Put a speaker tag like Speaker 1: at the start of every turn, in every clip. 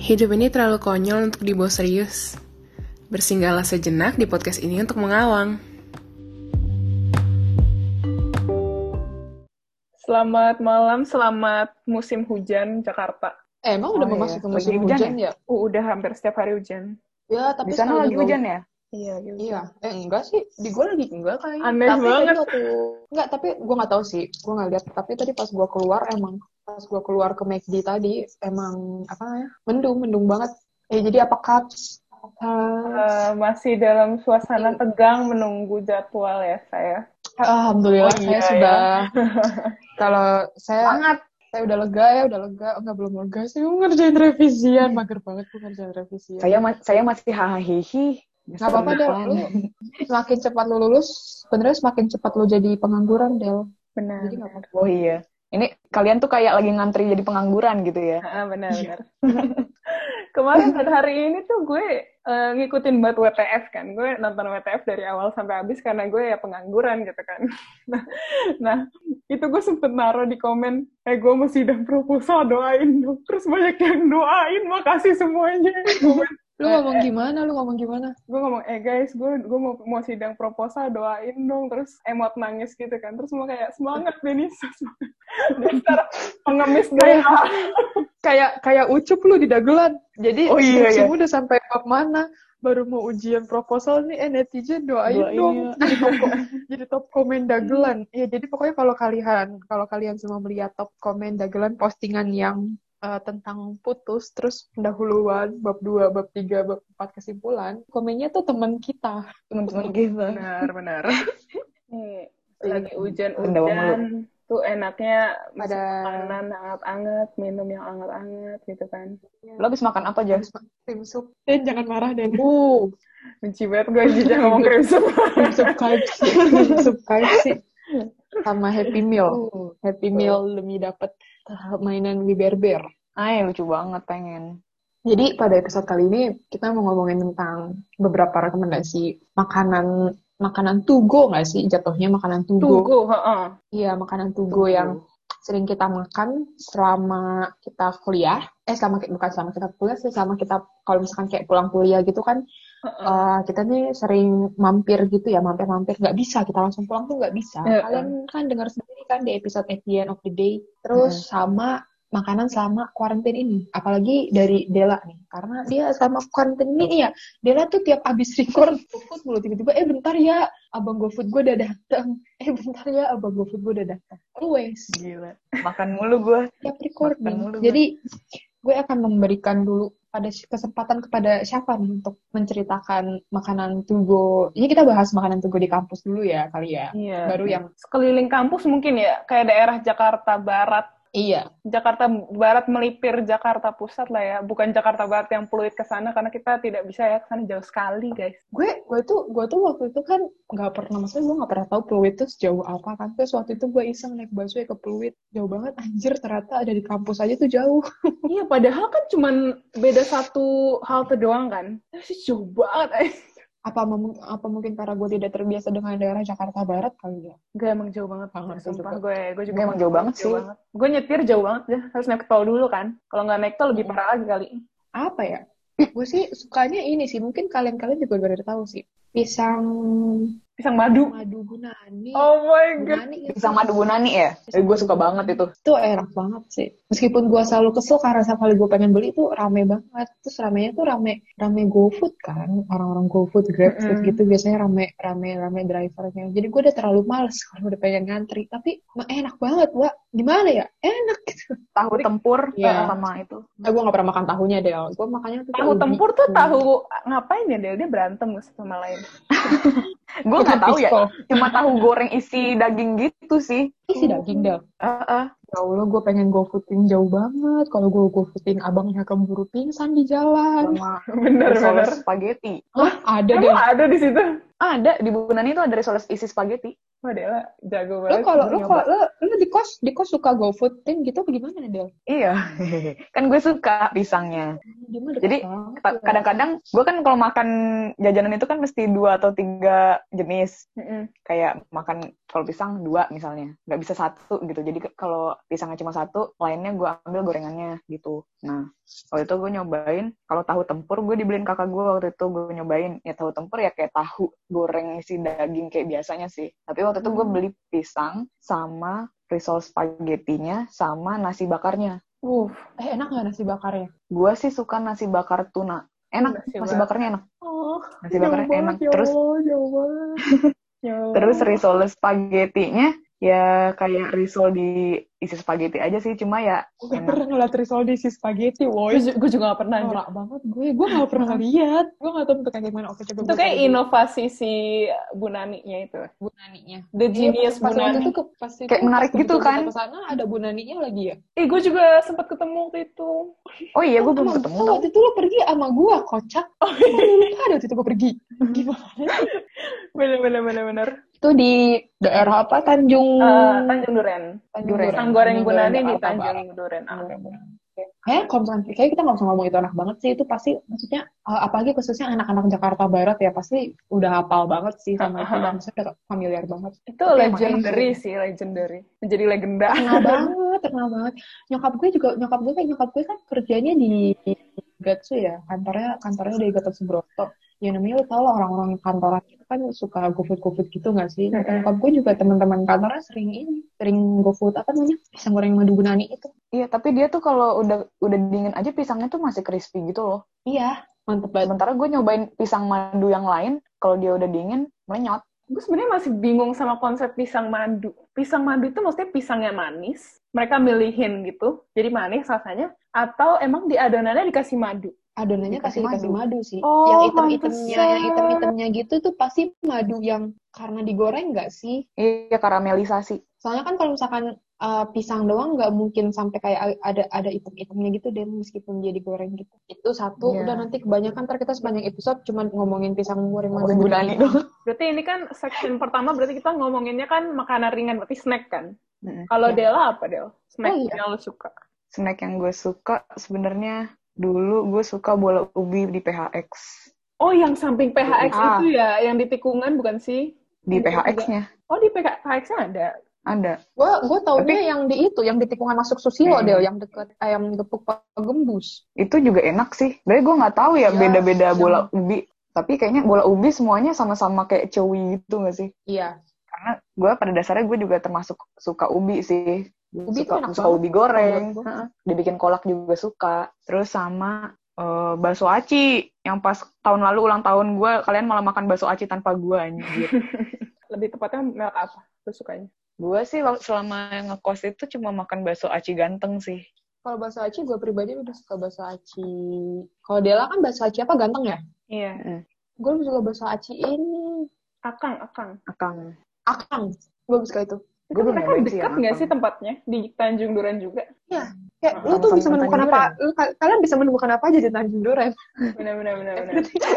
Speaker 1: Hidup ini terlalu konyol untuk dibawa serius. Bersinggahlah sejenak di podcast ini untuk mengawang.
Speaker 2: Selamat malam, selamat musim hujan Jakarta.
Speaker 3: Eh, emang udah
Speaker 4: Oh, iya.
Speaker 3: memasuki musim
Speaker 4: Lagi hujan
Speaker 3: hujan, ya?
Speaker 2: Uh, udah hampir setiap hari hujan.
Speaker 3: Ya, tapi
Speaker 4: Di sana
Speaker 3: sekali
Speaker 4: lagi
Speaker 3: doang.
Speaker 4: hujan ya?
Speaker 2: Iya,
Speaker 3: Iya, eh enggak sih. Di gua lagi enggak kayaknya.
Speaker 2: Aneh
Speaker 3: tapi tadi
Speaker 2: banget.
Speaker 3: waktu enggak, tapi gua nggak tahu sih. Gua nggak lihat, tapi tadi pas gua keluar emang pas gua keluar ke McD tadi emang apa namanya? Mendung, mendung banget. Eh jadi apakah eh,
Speaker 2: Eh, masih dalam suasana tegang menunggu jadwal ya saya.
Speaker 3: Alhamdulillah
Speaker 2: Oh,
Speaker 3: saya
Speaker 2: iya,
Speaker 3: sudah kalau saya
Speaker 2: Sangat.
Speaker 3: saya udah lega ya, udah lega. Oh, Enggak belum lega sih. Gua ngerjain revisian,
Speaker 4: Iya.
Speaker 3: mager banget gua ngerjain revisian.
Speaker 4: Saya ma- saya masih hahaha.
Speaker 3: Gak apa-apa Del, lu semakin cepat lu lulus, sebenarnya semakin cepat lu jadi pengangguran Del.
Speaker 2: Benar.
Speaker 3: Jadi nggak apa-apa.
Speaker 4: Oh iya. Ini kalian tuh kayak lagi ngantri jadi pengangguran gitu ya.
Speaker 2: Ah, benar, benar. Kemarin dan hari ini tuh gue eh, ngikutin banget WTF kan. Gue nonton WTF dari awal sampai habis karena gue ya pengangguran gitu kan. Nah, nah, itu gue sempet naruh di komen, eh gue masih sidang proposal doain dong. Terus banyak yang doain, makasih semuanya.
Speaker 3: Lu ngomong gimana? Lu ngomong gimana?
Speaker 2: gue ngomong eh guys gue gue mau mau sidang proposal doain dong terus emot nangis gitu kan terus semua kayak semangat Denisa semangat." dasar pengemis
Speaker 3: Kayak
Speaker 2: gaya
Speaker 3: kayak kayak ucup lu di dagelan. Jadi
Speaker 4: Oh, iya,
Speaker 3: skripsi
Speaker 4: iya.
Speaker 3: lu udah sampai bab mana? Baru mau ujian proposal nih, eh netizen doain
Speaker 4: Doain,
Speaker 3: dong.
Speaker 4: iya.
Speaker 3: Jadi top, ko- jadi top komen dagelan. Ya jadi pokoknya kalau kalian kalau kalian semua melihat top komen dagelan postingan yang eh, tentang putus terus pendahuluan bab 2, bab 3, bab 4 kesimpulan, komennya tuh teman kita.
Speaker 4: Teman-teman kita.
Speaker 2: benar benar nih lagi
Speaker 4: Rendah banget.
Speaker 2: hujan-hujan tuh enaknya ada
Speaker 3: Ada-
Speaker 2: makanan hangat-hangat minum yang hangat-hangat gitu kan
Speaker 4: Lo habis makan apa aja?
Speaker 3: Tim sup. Den, Eh, jangan marah, Den.
Speaker 2: benci banget gue jijik ngomong gitu. crimson
Speaker 3: Tim sup KFC. Tim sup KFC. Sama Happy Meal. Happy Meal demi dapat mainan Wiberber.
Speaker 4: Ay, lucu banget pengen.
Speaker 3: Jadi pada episode kali ini kita mau ngomongin tentang beberapa rekomendasi makanan makanan to go nggak sih jatuhnya makanan to go.
Speaker 2: tunggu heeh
Speaker 3: Iya, makanan to go yang sering kita makan selama kita kuliah. Eh selama bukan selama kita kuliah sih selama kita kalau misalkan kayak pulang kuliah gitu kan eh, kita nih sering mampir gitu ya, mampir-mampir nggak bisa kita langsung pulang tuh nggak bisa.
Speaker 2: Iya.
Speaker 3: Kalian kan dengar sendiri kan di episode at the end of the day. Terus sama makanan selama kuarantin ini, apalagi dari Dela nih, karena dia selama kuarantin ini nih ya, Dela tuh tiap abis record GoFood mulu tiba-tiba, eh bentar ya, abang GoFood gue udah datang, eh bentar ya, abang GoFood gue udah datang, always
Speaker 4: Gila. Makan mulu gue.
Speaker 3: tiap recording.
Speaker 4: Makan mulu, Mbak.
Speaker 3: Jadi gue akan memberikan dulu pada si- kesempatan kepada siapa nih untuk menceritakan makanan tugo. Ini kita bahas makanan tugo di kampus dulu ya kali ya.
Speaker 2: iya
Speaker 3: Baru yang
Speaker 2: sekeliling kampus mungkin ya kayak daerah Jakarta Barat
Speaker 3: iya.
Speaker 2: Jakarta Barat melipir Jakarta Pusat lah ya, bukan Jakarta Barat yang peluit ke sana karena kita tidak bisa ya ke sana jauh sekali guys.
Speaker 3: Gue gue tuh gue tuh waktu itu kan nggak pernah maksudnya gue nggak pernah tahu Pluit itu sejauh apa kan. Terus waktu itu gue iseng naik busway ke Pluit jauh banget anjir ternyata ada di kampus aja tuh jauh.
Speaker 2: Iya, padahal kan cuman beda satu halte doang kan. Tapi sih jauh banget. Eh.
Speaker 3: Apa mem- apa mungkin karena gue tidak terbiasa dengan daerah Jakarta Barat kali ya.
Speaker 2: Gak emang jauh banget
Speaker 3: Banget sih
Speaker 2: Sumpah
Speaker 3: juga.
Speaker 2: gue, gue juga
Speaker 4: Emang jauh banget sih.
Speaker 2: Gue nyetir jauh banget ya, harus naik tol dulu kan. Kalau nggak naik tol lebih parah lagi kali.
Speaker 3: apa ya? Gue sih sukanya ini sih, mungkin kalian-kalian juga udah pada tahu sih. Pisang
Speaker 2: Pisang madu.
Speaker 3: madu Bunani.
Speaker 2: Oh my god.
Speaker 3: Bunani ya.
Speaker 4: Pisang madu Bunani ya? Eh, gue suka banget itu.
Speaker 3: Itu enak banget sih. Meskipun gue selalu kesel karena setiap kali gue pengen beli itu rame banget. Terus ramenya tuh rame rame GoFood kan. Orang-orang GoFood, GrabFood
Speaker 2: Mm-mm.
Speaker 3: gitu biasanya rame rame rame drivernya. Jadi gue udah terlalu males kalau udah pengen ngantri. Tapi emang enak banget, Wak. Gimana ya? Enak gitu.
Speaker 4: Tahu tempur eh,
Speaker 3: Iya.
Speaker 4: sama itu.
Speaker 3: Nah, gue gak pernah makan tahunya, Del. Gue makannya tuh
Speaker 2: Tahu
Speaker 3: ubi.
Speaker 2: tempur tuh
Speaker 3: Hmm.
Speaker 2: tahu ngapain ya Del? Dia berantem sama lain.
Speaker 4: Gue nggak tahu ya.
Speaker 3: Pistol.
Speaker 4: Cuma tahu goreng isi daging gitu sih.
Speaker 3: Isi daging, Del.
Speaker 4: Heeh.
Speaker 3: Ya Allah, gue pengen go foodin jauh banget. Kalau gue go foodin, abangnya keburu pingsan di jalan.
Speaker 4: Sama
Speaker 2: Bener bener.
Speaker 4: risoles spaghetti.
Speaker 3: Hah, ada deh.
Speaker 2: Emang ada di situ.
Speaker 4: Ada di Bunani itu ada risoles isi spaghetti.
Speaker 2: Wah, Dela jago
Speaker 3: Lo
Speaker 2: banget.
Speaker 3: kalau lo
Speaker 2: Nyoba.
Speaker 3: kalau lo lo di kos di kos suka go food team gitu apa gimana Del?
Speaker 4: Iya, kan gue suka pisangnya.
Speaker 3: Gimana
Speaker 4: Jadi,
Speaker 3: Iya.
Speaker 4: Ta-
Speaker 3: ya.
Speaker 4: Kadang-kadang gue kan kalau makan jajanan itu kan mesti dua atau tiga jenis.
Speaker 2: Mm-mm.
Speaker 4: Kayak makan kalau pisang dua misalnya, nggak bisa satu gitu. Jadi ke- kalau pisangnya cuma satu, lainnya gue ambil gorengannya gitu. Nah, waktu itu gue nyobain kalau tahu tempur gue dibeliin kakak gue waktu itu gue nyobain ya tahu tempur ya kayak tahu goreng isi daging kayak biasanya sih. Tapi waktu itu gue beli pisang sama risol spagettinya sama nasi bakarnya.
Speaker 2: Uh,
Speaker 3: eh enak nggak nasi ya? bakarnya?
Speaker 4: Gue sih suka nasi bakar tuna. Enak,
Speaker 2: Nasi
Speaker 4: nasi,
Speaker 2: bakar.
Speaker 4: bakarnya enak.
Speaker 3: Oh,
Speaker 4: Nasi bakarnya enak.
Speaker 2: ya
Speaker 4: Terus
Speaker 2: jauh banget. Ya Allah.
Speaker 4: terus risol spagettinya ya kayak risol di isi spaghetti aja sih cuma ya
Speaker 3: gue
Speaker 4: Enak.
Speaker 3: pernah ngeliat risol di si spaghetti,
Speaker 2: Gue
Speaker 3: woi.
Speaker 2: ju- gue juga gak pernah. Ju.
Speaker 3: Norak banget gue, gue gak pernah lihat. Gue gak tau bentuknya kayak gimana. Oke, coba
Speaker 2: Itu kayak inovasi si Bunani-nya itu.
Speaker 3: Bunaninya.
Speaker 2: The
Speaker 3: Iya,
Speaker 2: genius
Speaker 3: pas waktu
Speaker 2: Bunani.
Speaker 3: itu ke, pas itu,
Speaker 4: Kayak menarik
Speaker 3: pas
Speaker 4: gitu
Speaker 3: begitu
Speaker 4: kan?
Speaker 3: kita Kesana ada Bunaninya lagi ya.
Speaker 2: Eh, gue juga sempat ketemu waktu itu.
Speaker 4: oh iya gue belum
Speaker 3: Emang
Speaker 4: ketemu
Speaker 3: lu
Speaker 4: tau
Speaker 3: Waktu itu lo pergi sama gue, kocak. Oh, iya. Ada waktu itu gue pergi. Gitu. Gimana?
Speaker 2: Bener, bener, bener, bener.
Speaker 3: Itu di daerah apa? Tanjung...
Speaker 2: Eh, Tanjung Duren.
Speaker 3: Tanjung
Speaker 4: Duren.
Speaker 2: Pisang goreng Bunani di
Speaker 3: Jakarta Barat.
Speaker 2: Tanjung Duren. Ah.
Speaker 3: Kayak kalau misalkan, kayak kita nggak usah ngomong itu anak banget sih, itu pasti maksudnya eh, apalagi khususnya anak-anak Jakarta Barat ya pasti udah hafal banget sih sama itu, dan maksudnya udah familiar banget.
Speaker 2: Itu
Speaker 3: Tapi emang
Speaker 2: legendary sih, legendary. Menjadi legenda.
Speaker 3: Terkenal banget, terkenal banget. Nyokap gue juga, nyokap gue kayak nyokap gue kan kerjanya di Gatsu ya, kantornya kantornya di Gatot Subroto. Ya namanya lo tau lah orang-orang kantoran itu kan suka gofood-gofood gitu nggak sih?
Speaker 2: Mm-mm.
Speaker 3: Nyokap gue juga teman-teman kantornya sering ini, sering gofood apa namanya? Pisang goreng madu Bunani itu.
Speaker 4: iya tapi dia tuh kalau udah udah dingin aja pisangnya tuh masih crispy gitu loh
Speaker 3: Iya, mantep banget.
Speaker 4: sementara gue nyobain pisang madu yang lain kalau dia udah dingin melenyot
Speaker 2: Gue sebenarnya masih bingung sama konsep pisang madu. Pisang madu itu maksudnya pisangnya manis. Mereka milihin gitu, jadi manis rasanya. Atau emang di adonannya dikasih madu.
Speaker 3: adonannya
Speaker 4: Dikasih
Speaker 3: pasti dikasih madu sih.
Speaker 2: Oh,
Speaker 3: yang item-itemnya,
Speaker 2: pantesan.
Speaker 3: yang item-itemnya gitu tuh pasti madu yang karena digoreng nggak sih?
Speaker 4: iya karamelisasi
Speaker 3: Soalnya kan kalau misalkan uh, pisang doang nggak mungkin sampai kayak a- ada ada item-itemnya gitu deh meskipun dia digoreng gitu. Itu satu.
Speaker 4: Iya.
Speaker 3: Udah nanti kebanyakan ntar kita sepanjang episode cuma ngomongin pisang goreng gitu. madu
Speaker 4: Ngomongin Bunani doang.
Speaker 2: Berarti ini kan section pertama, berarti kita ngomonginnya kan makanan ringan, berarti snack kan?
Speaker 4: Mm-mm.
Speaker 2: Kalau
Speaker 3: Iya.
Speaker 2: Dela apa, Del? Snack
Speaker 3: Oh, iya.
Speaker 2: yang lo suka.
Speaker 4: snack yang gue suka sebenarnya dulu gue suka bola ubi di PHX
Speaker 2: Oh, yang samping PHX
Speaker 4: Ah.
Speaker 2: itu ya, yang di tikungan bukan sih?
Speaker 4: di
Speaker 2: Itu juga.
Speaker 4: PHX-nya
Speaker 2: Oh, di PHX-nya ada.
Speaker 4: ada
Speaker 3: Gue gue taunya yang di itu, yang di tikungan masuk Susilo
Speaker 4: Hmm.
Speaker 3: deh, yang deket ayam gepuk gembus.
Speaker 4: itu juga enak sih. Tapi gue nggak tahu ya
Speaker 3: Iya,
Speaker 4: beda-beda
Speaker 3: sama.
Speaker 4: bola ubi. Tapi kayaknya bola ubi semuanya sama-sama kayak cewi gitu nggak sih?
Speaker 3: Iya.
Speaker 4: Karena gue pada dasarnya gue juga termasuk suka ubi sih. Gua
Speaker 3: Ubi tuh
Speaker 4: suka,
Speaker 3: enak
Speaker 4: suka
Speaker 3: banget.
Speaker 4: ubi goreng.
Speaker 3: Menurut gua.
Speaker 4: Heeh. Dibikin kolak juga suka. Terus sama eh, bakso aci yang pas tahun lalu ulang tahun gue kalian malah makan bakso aci tanpa gue anjir.
Speaker 2: Lebih tepatnya merek apa? Lo sukanya?
Speaker 4: gue sih wak- selama ngekos itu cuma makan bakso aci ganteng sih.
Speaker 3: Kalau bahasa Aci gue pribadi udah suka bahasa Aci. Kalau Dela kan bahasa Aci apa ganteng ya?
Speaker 2: Iya.
Speaker 3: gue lebih suka bahasa Aci ini
Speaker 2: Akang, Akang.
Speaker 4: Akang.
Speaker 3: akang gue lebih suka itu
Speaker 4: Gua
Speaker 2: Itu
Speaker 4: belum
Speaker 2: mereka
Speaker 4: nyobain sih
Speaker 2: dekat
Speaker 4: yang
Speaker 2: nggak
Speaker 4: Akang.
Speaker 2: sih tempatnya? Di Tanjung Duren juga.
Speaker 3: kayak lu
Speaker 4: Sama-sama
Speaker 3: tuh bisa
Speaker 4: sama
Speaker 3: menemukan
Speaker 4: Tanjung
Speaker 3: apa lu- ka- kalian bisa menemukan apa aja di Tanjung Duren
Speaker 2: Benar, benar, benar. benar.
Speaker 4: ya.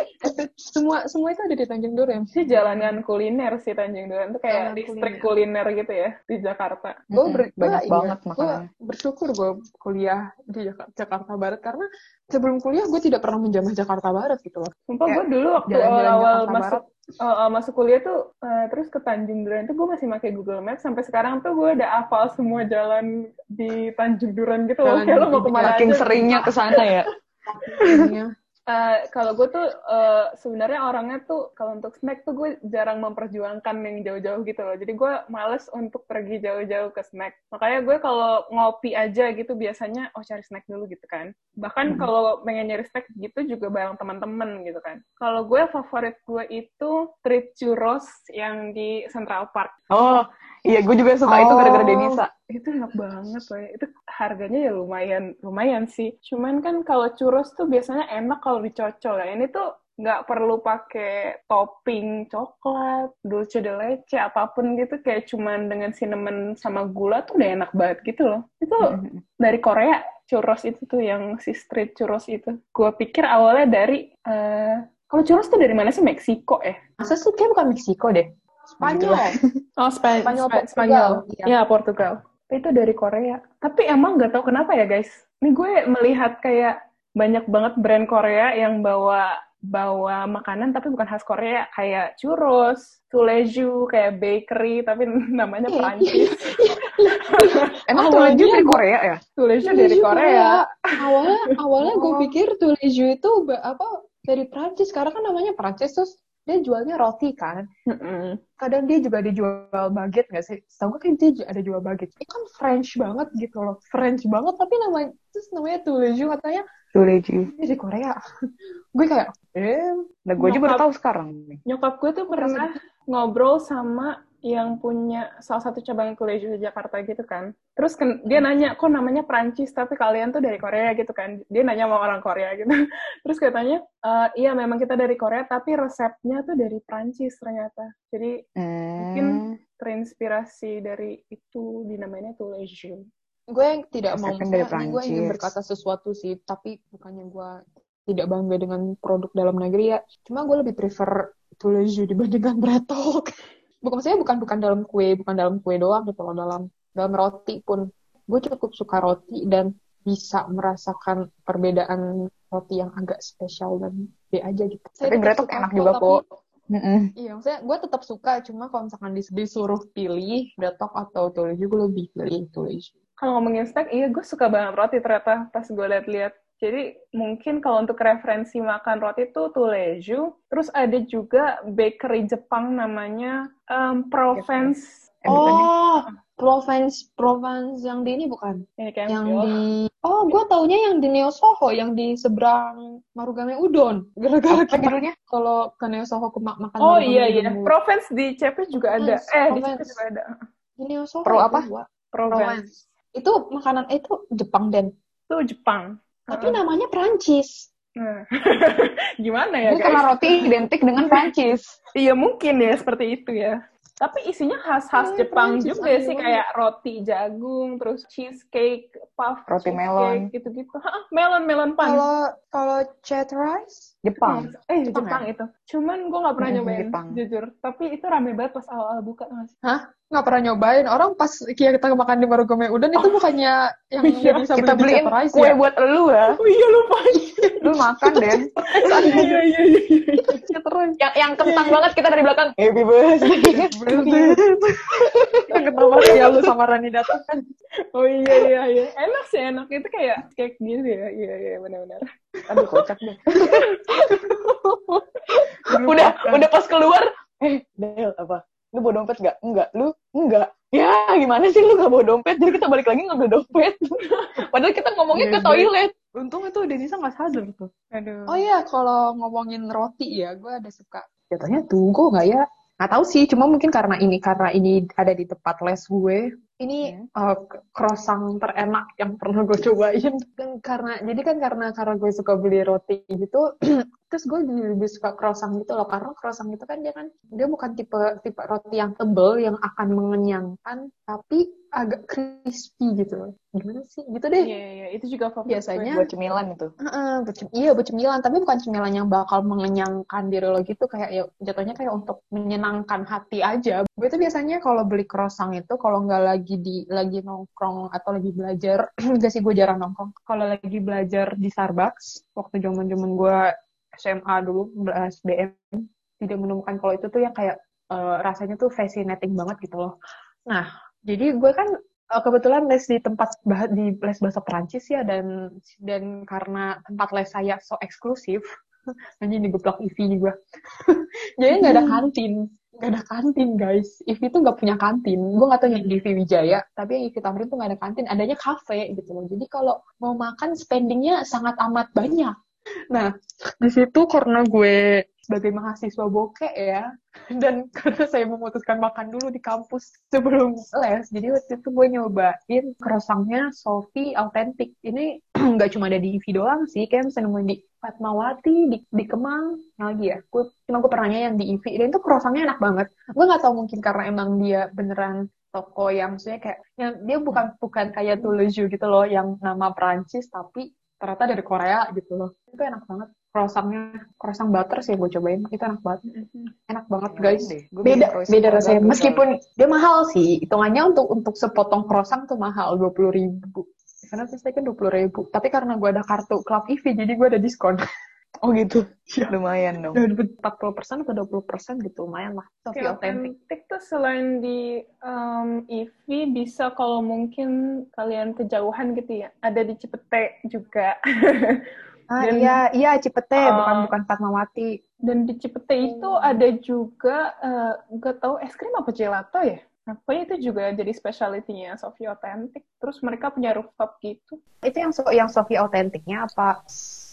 Speaker 3: semua semua itu ada di Tanjung Duren
Speaker 2: sih jalanan kuliner sih Tanjung Duren. Itu kayak
Speaker 3: Jalanan
Speaker 2: distrik kuliner. gitu ya di Jakarta.
Speaker 3: gue
Speaker 4: Mm-mm, banyak banget
Speaker 3: gue
Speaker 4: makanan.
Speaker 3: bersyukur gue kuliah di Jak- Jakarta Barat karena sebelum kuliah gue tidak pernah menjamah Jakarta Barat gitu loh
Speaker 2: Sumpah
Speaker 4: Kayak
Speaker 2: gue dulu waktu
Speaker 4: jalan-jalan
Speaker 2: awal
Speaker 4: Jakarta
Speaker 2: masuk eh, eh, masuk kuliah tuh eh, terus ke Tanjung Duren tuh gue masih pakai Google Maps sampai sekarang tuh gue udah hafal semua jalan di Tanjung Duren gitu loh.
Speaker 3: Jalan
Speaker 2: Kayak lo mau
Speaker 3: di-
Speaker 2: kemana
Speaker 4: Makin
Speaker 2: aja.
Speaker 4: seringnya ke sana ya.
Speaker 3: Makanya,
Speaker 2: Eh, kalau gue tuh eh, sebenarnya orangnya tuh kalau untuk snack tuh gue jarang memperjuangkan yang jauh-jauh gitu loh. Jadi gue males untuk pergi jauh-jauh ke snack. Makanya gue kalau ngopi aja gitu biasanya oh cari snack dulu gitu kan.
Speaker 4: Hmm.
Speaker 2: Bahkan kalau pengen nyari snack gitu juga bareng teman-teman gitu kan. Kalau gue favorit gue itu treat churros yang di Central Park.
Speaker 4: Oh, iya gue juga suka itu
Speaker 3: Oh.
Speaker 4: gara-gara Denisa.
Speaker 2: Itu enak banget loh. ya. Itu harganya ya lumayan lumayan sih. Cuman kan kalau churros tuh biasanya enak kalau dicocol ya. Ini tuh nggak perlu pakai topping coklat, dulce de leche, apapun gitu. Kayak cuman dengan cinnamon sama gula tuh udah enak banget gitu loh. Itu
Speaker 4: Hmm.
Speaker 2: dari Korea churros itu tuh yang si street churros itu. Gue pikir awalnya dari eh, kalau churros tuh dari mana sih Meksiko ya?
Speaker 3: masa sih kayak bukan Meksiko deh gitu Spanyol.
Speaker 2: Oh, Spa-
Speaker 3: Spanyol,
Speaker 2: Spa-
Speaker 3: Portugal.
Speaker 2: Spanyol.
Speaker 3: Iya.
Speaker 2: Ya, Portugal. Itu dari Korea. Tapi emang nggak tahu kenapa ya, guys. Ini gue melihat kayak banyak banget brand Korea yang bawa bawa makanan tapi bukan khas Korea kayak churros, tuleju, kayak bakery tapi namanya
Speaker 3: Iya,
Speaker 2: Perancis.
Speaker 4: Emang
Speaker 3: Awalnya
Speaker 4: tuh dari
Speaker 3: gua-
Speaker 4: Korea ya?
Speaker 2: Tuleju dari Korea.
Speaker 3: Awalnya awalnya gue
Speaker 4: Oh.
Speaker 3: pikir Tuleju itu ba- apa dari Prancis karena kan namanya Prancis terus dia jualnya roti kan.
Speaker 2: Mm-mm.
Speaker 3: Kadang dia juga ada jual baguette nggak sih? Setahu gue kan dia ju- ada jual baguette. Itu kan French banget gitu loh. French banget tapi namanya terus namanya Tuleju katanya
Speaker 4: Tuleju.
Speaker 3: dia dari Korea. gue kayak eh
Speaker 4: Nah, gue aja baru
Speaker 2: Nyokap.
Speaker 4: tahu sekarang. nih.
Speaker 2: Nyokap gue tuh pernah ngobrol sama yang punya salah satu cabang kuliah di Jakarta gitu kan. Terus ken- dia nanya, kok namanya Perancis tapi kalian tuh dari Korea gitu kan. Dia nanya sama orang Korea gitu. Terus katanya, "Eh, iya memang kita dari Korea tapi resepnya tuh dari Perancis ternyata. Jadi Mungkin.
Speaker 4: Hmm.
Speaker 2: terinspirasi dari itu dinamainya tuh leisure.
Speaker 3: gue yang tidak mau
Speaker 4: Resepnya kan dari
Speaker 3: maksudnya gue ingin
Speaker 4: Prancis.
Speaker 3: berkata sesuatu sih tapi bukannya gue tidak bangga dengan produk dalam negeri ya cuma gue lebih prefer Tuleju dibandingkan Bretok bukan maksudnya bukan bukan dalam kue bukan dalam kue doang gitu loh dalam dalam roti pun gue cukup suka roti dan bisa merasakan perbedaan roti yang agak spesial dan B aja gitu. Saya tetap
Speaker 4: Tapi Bretok
Speaker 3: suka
Speaker 4: enak
Speaker 3: kok,
Speaker 4: juga
Speaker 3: tapi-
Speaker 4: kok. Mm-mm.
Speaker 3: Iya, maksudnya gue tetap suka, cuma kalau misalkan dis- disuruh pilih Bretok atau Tuleju, gue lebih pilih Tuleju.
Speaker 2: Kalau ngomongin snack, iya gue suka banget roti ternyata pas gue liat-liat. Jadi mungkin kalau untuk referensi makan roti itu Tuleju. Terus ada juga bakery Jepang namanya em, Provence.
Speaker 4: Eh, bukan ya?
Speaker 3: Oh, Provence, Provence yang di ini bukan?
Speaker 2: Ini kayak
Speaker 3: Yang
Speaker 2: Mio.
Speaker 3: di Oh, gue taunya yang di Neo Soho, yang di seberang Marugame Udon. Gara-gara
Speaker 4: Apa
Speaker 3: kita
Speaker 4: judulnya?
Speaker 3: kalau ke Neo Soho ke ma- makan
Speaker 2: Oh
Speaker 3: Marugame
Speaker 2: iya iya.
Speaker 3: Udon mulu.
Speaker 2: Provence di CP juga ada.
Speaker 3: Provence,
Speaker 2: Eh di CP
Speaker 3: Provence.
Speaker 2: juga ada.
Speaker 3: Di Neo Soho.
Speaker 4: Pro
Speaker 3: itu
Speaker 4: apa?
Speaker 3: gua.
Speaker 2: Provence.
Speaker 3: Provence. Itu makanan eh, itu Jepang dan
Speaker 2: Itu Jepang.
Speaker 3: tapi namanya Perancis.
Speaker 2: Nah. Gimana ya
Speaker 4: Ini karena
Speaker 2: guys?
Speaker 4: roti identik dengan Prancis.
Speaker 2: Iya mungkin ya seperti itu ya. Tapi isinya khas-khas
Speaker 3: Iya,
Speaker 2: Jepang
Speaker 3: Prancis,
Speaker 2: juga
Speaker 3: aneh
Speaker 2: sih
Speaker 3: banget.
Speaker 2: kayak roti jagung, terus cheesecake, puff,
Speaker 4: Roti
Speaker 2: cheesecake,
Speaker 4: melon.
Speaker 2: gitu-gitu. Hah, melon melon pan.
Speaker 3: Kalau kalau chat rice
Speaker 4: Jepang.
Speaker 2: Eh,
Speaker 3: Jepang
Speaker 2: Jepang, itu. Cuman gue nggak pernah
Speaker 4: Mm,
Speaker 2: nyobain,
Speaker 4: Jepang.
Speaker 2: jujur. Tapi itu rame banget pas awal-awal buka nggak sih?
Speaker 3: nggak pernah nyobain orang pas kita makan di Marugame Udon itu bukannya yang
Speaker 2: Iya,
Speaker 3: bisa
Speaker 4: Oh. Kita
Speaker 3: beli di
Speaker 4: beliin
Speaker 3: chat rice
Speaker 4: kue
Speaker 3: ya?
Speaker 4: buat elu ya.
Speaker 2: Oh iya, lupa.
Speaker 4: Lu makan, Den.
Speaker 2: iya, iya, iya. iya.
Speaker 3: Chat rice.
Speaker 4: yang yang kentang banget kita dari belakang. Happy birthday.
Speaker 3: Kenapa ya lu sama Rani datang kan?
Speaker 2: Oh iya, iya, iya. Enak sih, enak. Itu kayak cake gitu ya. Iya, iya, benar-benar.
Speaker 4: Aduh, kocak deh. udah, udah pas keluar. Eh, Del, apa? Lu bawa dompet nggak? Enggak. Lu? Enggak. Ya, gimana sih lu gak bawa dompet? Jadi kita balik lagi ngambil dompet. Padahal kita ngomongnya ke
Speaker 3: Iya,
Speaker 4: toilet.
Speaker 3: Untung itu Denisa nggak sadar tuh.
Speaker 2: Aduh.
Speaker 3: Oh iya, kalau ngomongin roti ya, gue ada suka.
Speaker 4: Jatuhnya
Speaker 3: Tunggu nggak ya? Nggak tahu sih, cuma mungkin karena ini karena ini ada di tempat les gue. Ini eh, croissant terenak yang pernah gue cobain. Kan karena jadi kan karena karena gue suka beli roti gitu, terus gue jadi lebih suka croissant gitu loh. Karena croissant itu kan dia kan dia bukan tipe tipe roti yang tebel yang akan mengenyangkan, tapi agak crispy gitu. loh. Gimana sih? Gitu deh.
Speaker 2: Iya, iya. Itu juga favorit
Speaker 3: Biasanya-
Speaker 4: buat cemilan itu.
Speaker 3: Heeh, bercem- iya bercemilan tapi bukan cemilan yang bakal mengenyangkan diri lo gitu kayak ya jatuhnya kayak untuk menyenangkan hati aja gue tuh biasanya kalau beli croissant itu kalau nggak lagi di lagi nongkrong atau lagi belajar enggak sih gue jarang nongkrong kalau lagi belajar di Starbucks waktu zaman zaman gue SMA dulu bela- SBM tidak menemukan kalau itu tuh yang kayak eh, rasanya tuh fascinating banget gitu loh nah jadi gue kan Eh, kebetulan les di tempat bah- di les bahasa Perancis ya dan dan karena tempat les saya so eksklusif hanya digeplak IV juga jadi nggak ada kantin nggak ada kantin guys IV tuh nggak punya kantin gue nggak tahu yang di IV Wijaya tapi yang IV Tamrin tuh nggak ada kantin adanya kafe gitu loh jadi kalau mau makan spendingnya sangat amat banyak nah di situ karena gue sebagai mahasiswa bokeh ya dan karena saya memutuskan makan dulu di kampus sebelum les jadi waktu itu gue nyobain croissantnya Sofi autentik ini nggak cuma ada di IVI doang sih kayak bisa nemuin di Fatmawati di, di Kemang yang lagi ya gue cuma gue pernahnya yang di IVI dan itu croissantnya enak banget gue nggak tahu mungkin karena emang dia beneran toko yang maksudnya kayak yang dia bukan bukan kayak Tuluju gitu loh yang nama Perancis tapi ternyata dari Korea gitu loh itu enak banget croissantnya croissant butter sih gue cobain itu enak banget enak banget
Speaker 4: Nyobain
Speaker 3: guys
Speaker 4: deh. Gua bikin
Speaker 3: beda
Speaker 4: croissant
Speaker 3: beda
Speaker 4: agak
Speaker 3: rasanya
Speaker 4: gagal.
Speaker 3: meskipun dia mahal sih hitungannya untuk untuk sepotong croissant tuh mahal dua puluh ribu karena saya kan dua puluh ribu tapi karena gue ada kartu club IV jadi gue ada diskon
Speaker 4: Oh gitu. Lumayan dong.
Speaker 3: empat puluh persen atau dua puluh persen gitu lumayan lah tapi
Speaker 2: Kayak
Speaker 3: otentik
Speaker 2: otentik tuh selain di um, IV bisa kalau mungkin kalian kejauhan gitu ya. Ada di Cipete juga.
Speaker 3: ah,
Speaker 2: Dan-
Speaker 3: iya iya Cipete
Speaker 2: Ah.
Speaker 3: bukan bukan Fatmawati
Speaker 2: Dan di Cipete itu ada juga eh, nggak tahu es krim apa gelato ya. Nah, pokoknya itu juga jadi specialty-nya Sofi Otentik. Terus mereka punya rooftop gitu.
Speaker 3: itu yang so- yang Sofi otentiknya apa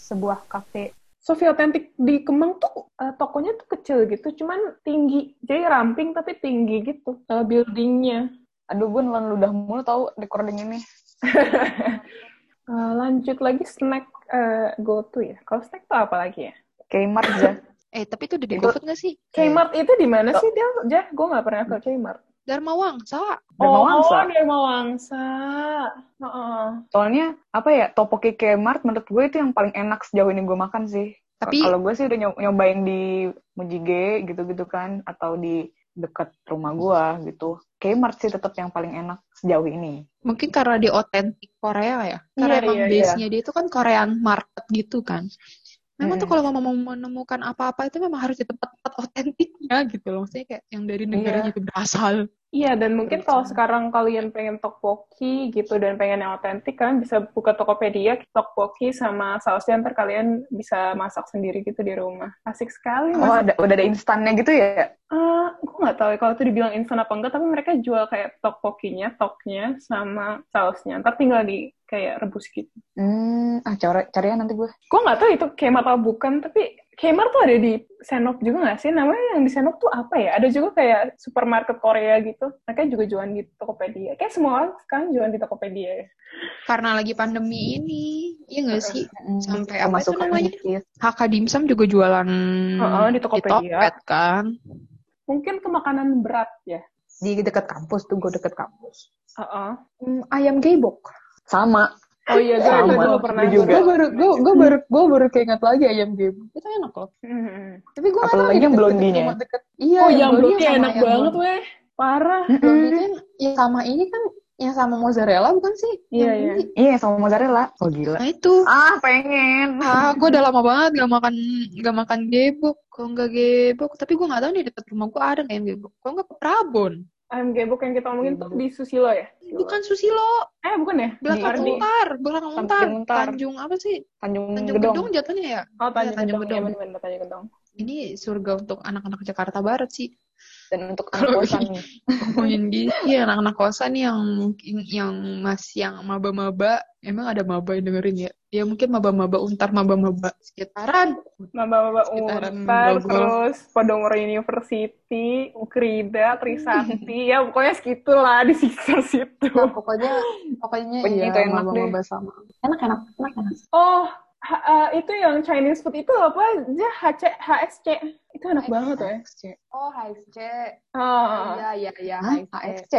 Speaker 3: sebuah kafe
Speaker 2: Sofi Otentik di Kemang tuh eh, tokonya tuh kecil gitu, cuman tinggi. Jadi ramping tapi tinggi gitu eh, buildingnya.
Speaker 4: Aduh gue nelan ludah mulu tau recording ini.
Speaker 2: Eh, lanjut lagi snack eh, go-to ya. Kalau snack tuh apa lagi ya?
Speaker 4: Kmart aja.
Speaker 5: Eh, tapi itu udah di
Speaker 4: Itu-
Speaker 5: GoFood nggak sih?
Speaker 2: Kmart itu di mana sih dia? Jah, gue nggak pernah ke Kmart.
Speaker 5: Dharmawang, sama.
Speaker 4: Iya. Dharmawangsa.
Speaker 2: Oh, Dharmawangsa. Heeh.
Speaker 4: Soalnya apa ya topoki Kmart menurut gue itu yang paling enak sejauh ini gue makan sih.
Speaker 5: Tapi-
Speaker 4: kalau gue sih udah nyo- nyobain di Mujige gitu-gitu kan atau di deket rumah gue gitu. Kmart sih tetap yang paling enak sejauh ini.
Speaker 5: Mungkin karena dia otentik Korea ya. Karena
Speaker 2: Iya,
Speaker 5: emang
Speaker 2: iya,
Speaker 5: base-nya dia itu kan Korean market gitu kan. Memang tuh
Speaker 4: Mm-mm.
Speaker 5: kalau mau mau menemukan apa-apa itu memang harus di tempat-tempat otentiknya gitu loh. Maksudnya kayak yang dari negaranya itu berasal.
Speaker 2: Iya, dan mungkin kalau sekarang kalian pengen tteokbokki gitu dan pengen yang otentik, kalian bisa buka Tokopedia, tteokbokki sama sausnya, ntar kalian bisa masak sendiri gitu di rumah. Asik sekali,
Speaker 4: Oh
Speaker 2: masak.
Speaker 4: ada udah ada instannya gitu ya?
Speaker 2: Eh, gue nggak tahu ya kalau itu dibilang instan apa enggak, tapi mereka jual kayak tteokbokkinya, toknya, sama sausnya. Ntar tinggal di kayak rebus gitu.
Speaker 4: Hmm, ah cari carian nanti gue.
Speaker 2: Gue nggak tahu itu Kmart atau bukan, tapi Kmart tuh ada di Senok juga nggak sih? Namanya yang di Senok tuh apa ya? Ada juga kayak supermarket Korea gitu. Mereka juga jualan di Tokopedia. Kayak semua orang sekarang jualan di Tokopedia ya.
Speaker 5: Karena lagi pandemi ini. Iya nggak sih? Sampai
Speaker 3: Ya,
Speaker 5: apa itu
Speaker 3: kan
Speaker 4: Pemasukan
Speaker 5: namanya?
Speaker 4: dikit.
Speaker 5: HK Dimsum juga jualan
Speaker 2: Heeh, di Tokopedia.
Speaker 5: Tokped kan.
Speaker 2: Mungkin ke makanan berat ya.
Speaker 3: di dekat kampus tuh gue dekat kampus
Speaker 2: Heeh.
Speaker 3: Hmm, ayam geibok
Speaker 4: Sama.
Speaker 2: Oh iya, gue
Speaker 4: Sama,
Speaker 2: itu dulu pernah.
Speaker 4: gue juga.
Speaker 3: gue baru gue gue baru gue baru keinget lagi ayam geibok itu enak loh
Speaker 2: Mhm.
Speaker 3: tapi gue nggak tahu ya,
Speaker 4: Apalagi yang
Speaker 3: deket-deket
Speaker 4: blondinya.
Speaker 3: rumah deket. iya
Speaker 2: Oh, yang
Speaker 3: blondie
Speaker 2: berarti
Speaker 3: sama
Speaker 2: enak
Speaker 3: yang
Speaker 2: banget, weh. Parah.
Speaker 3: blondie itu yang- yang sama ini kan yang sama mozzarella bukan sih
Speaker 2: Iya,
Speaker 3: Yang
Speaker 2: iya.
Speaker 3: ini.
Speaker 4: Iya sama mozzarella. Oh gila.
Speaker 5: Nah itu.
Speaker 4: Ah pengen.
Speaker 5: Ah, gue udah lama banget gak makan gak makan gebok. Kalau nggak gebok, tapi gue nggak tahu nih dekat rumah gue ada nggak yang gebok. Kalau nggak ke Prabon,
Speaker 2: Ayam gebok yang kita omongin tuh di Susilo ya?
Speaker 5: bukan Susilo,
Speaker 2: Eh, bukan ya?
Speaker 5: belakang
Speaker 2: Di-
Speaker 5: Untar, belakang
Speaker 4: Samping
Speaker 5: Untar,
Speaker 4: Untar.
Speaker 5: Tanjung apa sih?
Speaker 4: Tanjung,
Speaker 5: Tanjung
Speaker 4: Gedong.
Speaker 5: Gedong jatuhnya ya.
Speaker 2: Oh, Tanjung
Speaker 5: Iya, Tanjung
Speaker 2: Gedong. Iya,
Speaker 5: Gedong.
Speaker 2: bener-bener Tanjung Gedong.
Speaker 5: Ini surga untuk anak-anak Jakarta Barat sih.
Speaker 4: Dan untuk
Speaker 5: Kalau
Speaker 4: anak kosan nih.
Speaker 5: Ngomongin gini, ya, anak-anak kosan nih yang mungkin yang masih yang maba-maba, emang ada maba yang dengerin ya? Ya mungkin maba-maba Untar, maba-maba sekitaran.
Speaker 2: Maba-maba
Speaker 5: Sekitaran
Speaker 2: Untar,
Speaker 5: Bogor.
Speaker 2: terus Podongoro University, Ukrida, Trisakti, ya pokoknya segitulah di sekitar situ.
Speaker 3: Nah, pokoknya pokoknya
Speaker 4: Pokoknya
Speaker 5: ya,
Speaker 4: itu enak
Speaker 3: maba-
Speaker 4: deh.
Speaker 3: maba sama enak enak enak enak
Speaker 2: Oh, ha- uh, itu yang Chinese food itu apa? Dia HC, HSC. Itu enak banget ya.
Speaker 4: Iya.
Speaker 3: oh HSC
Speaker 2: Ah,
Speaker 5: Iya,
Speaker 3: ya ya
Speaker 4: Hah? AFC?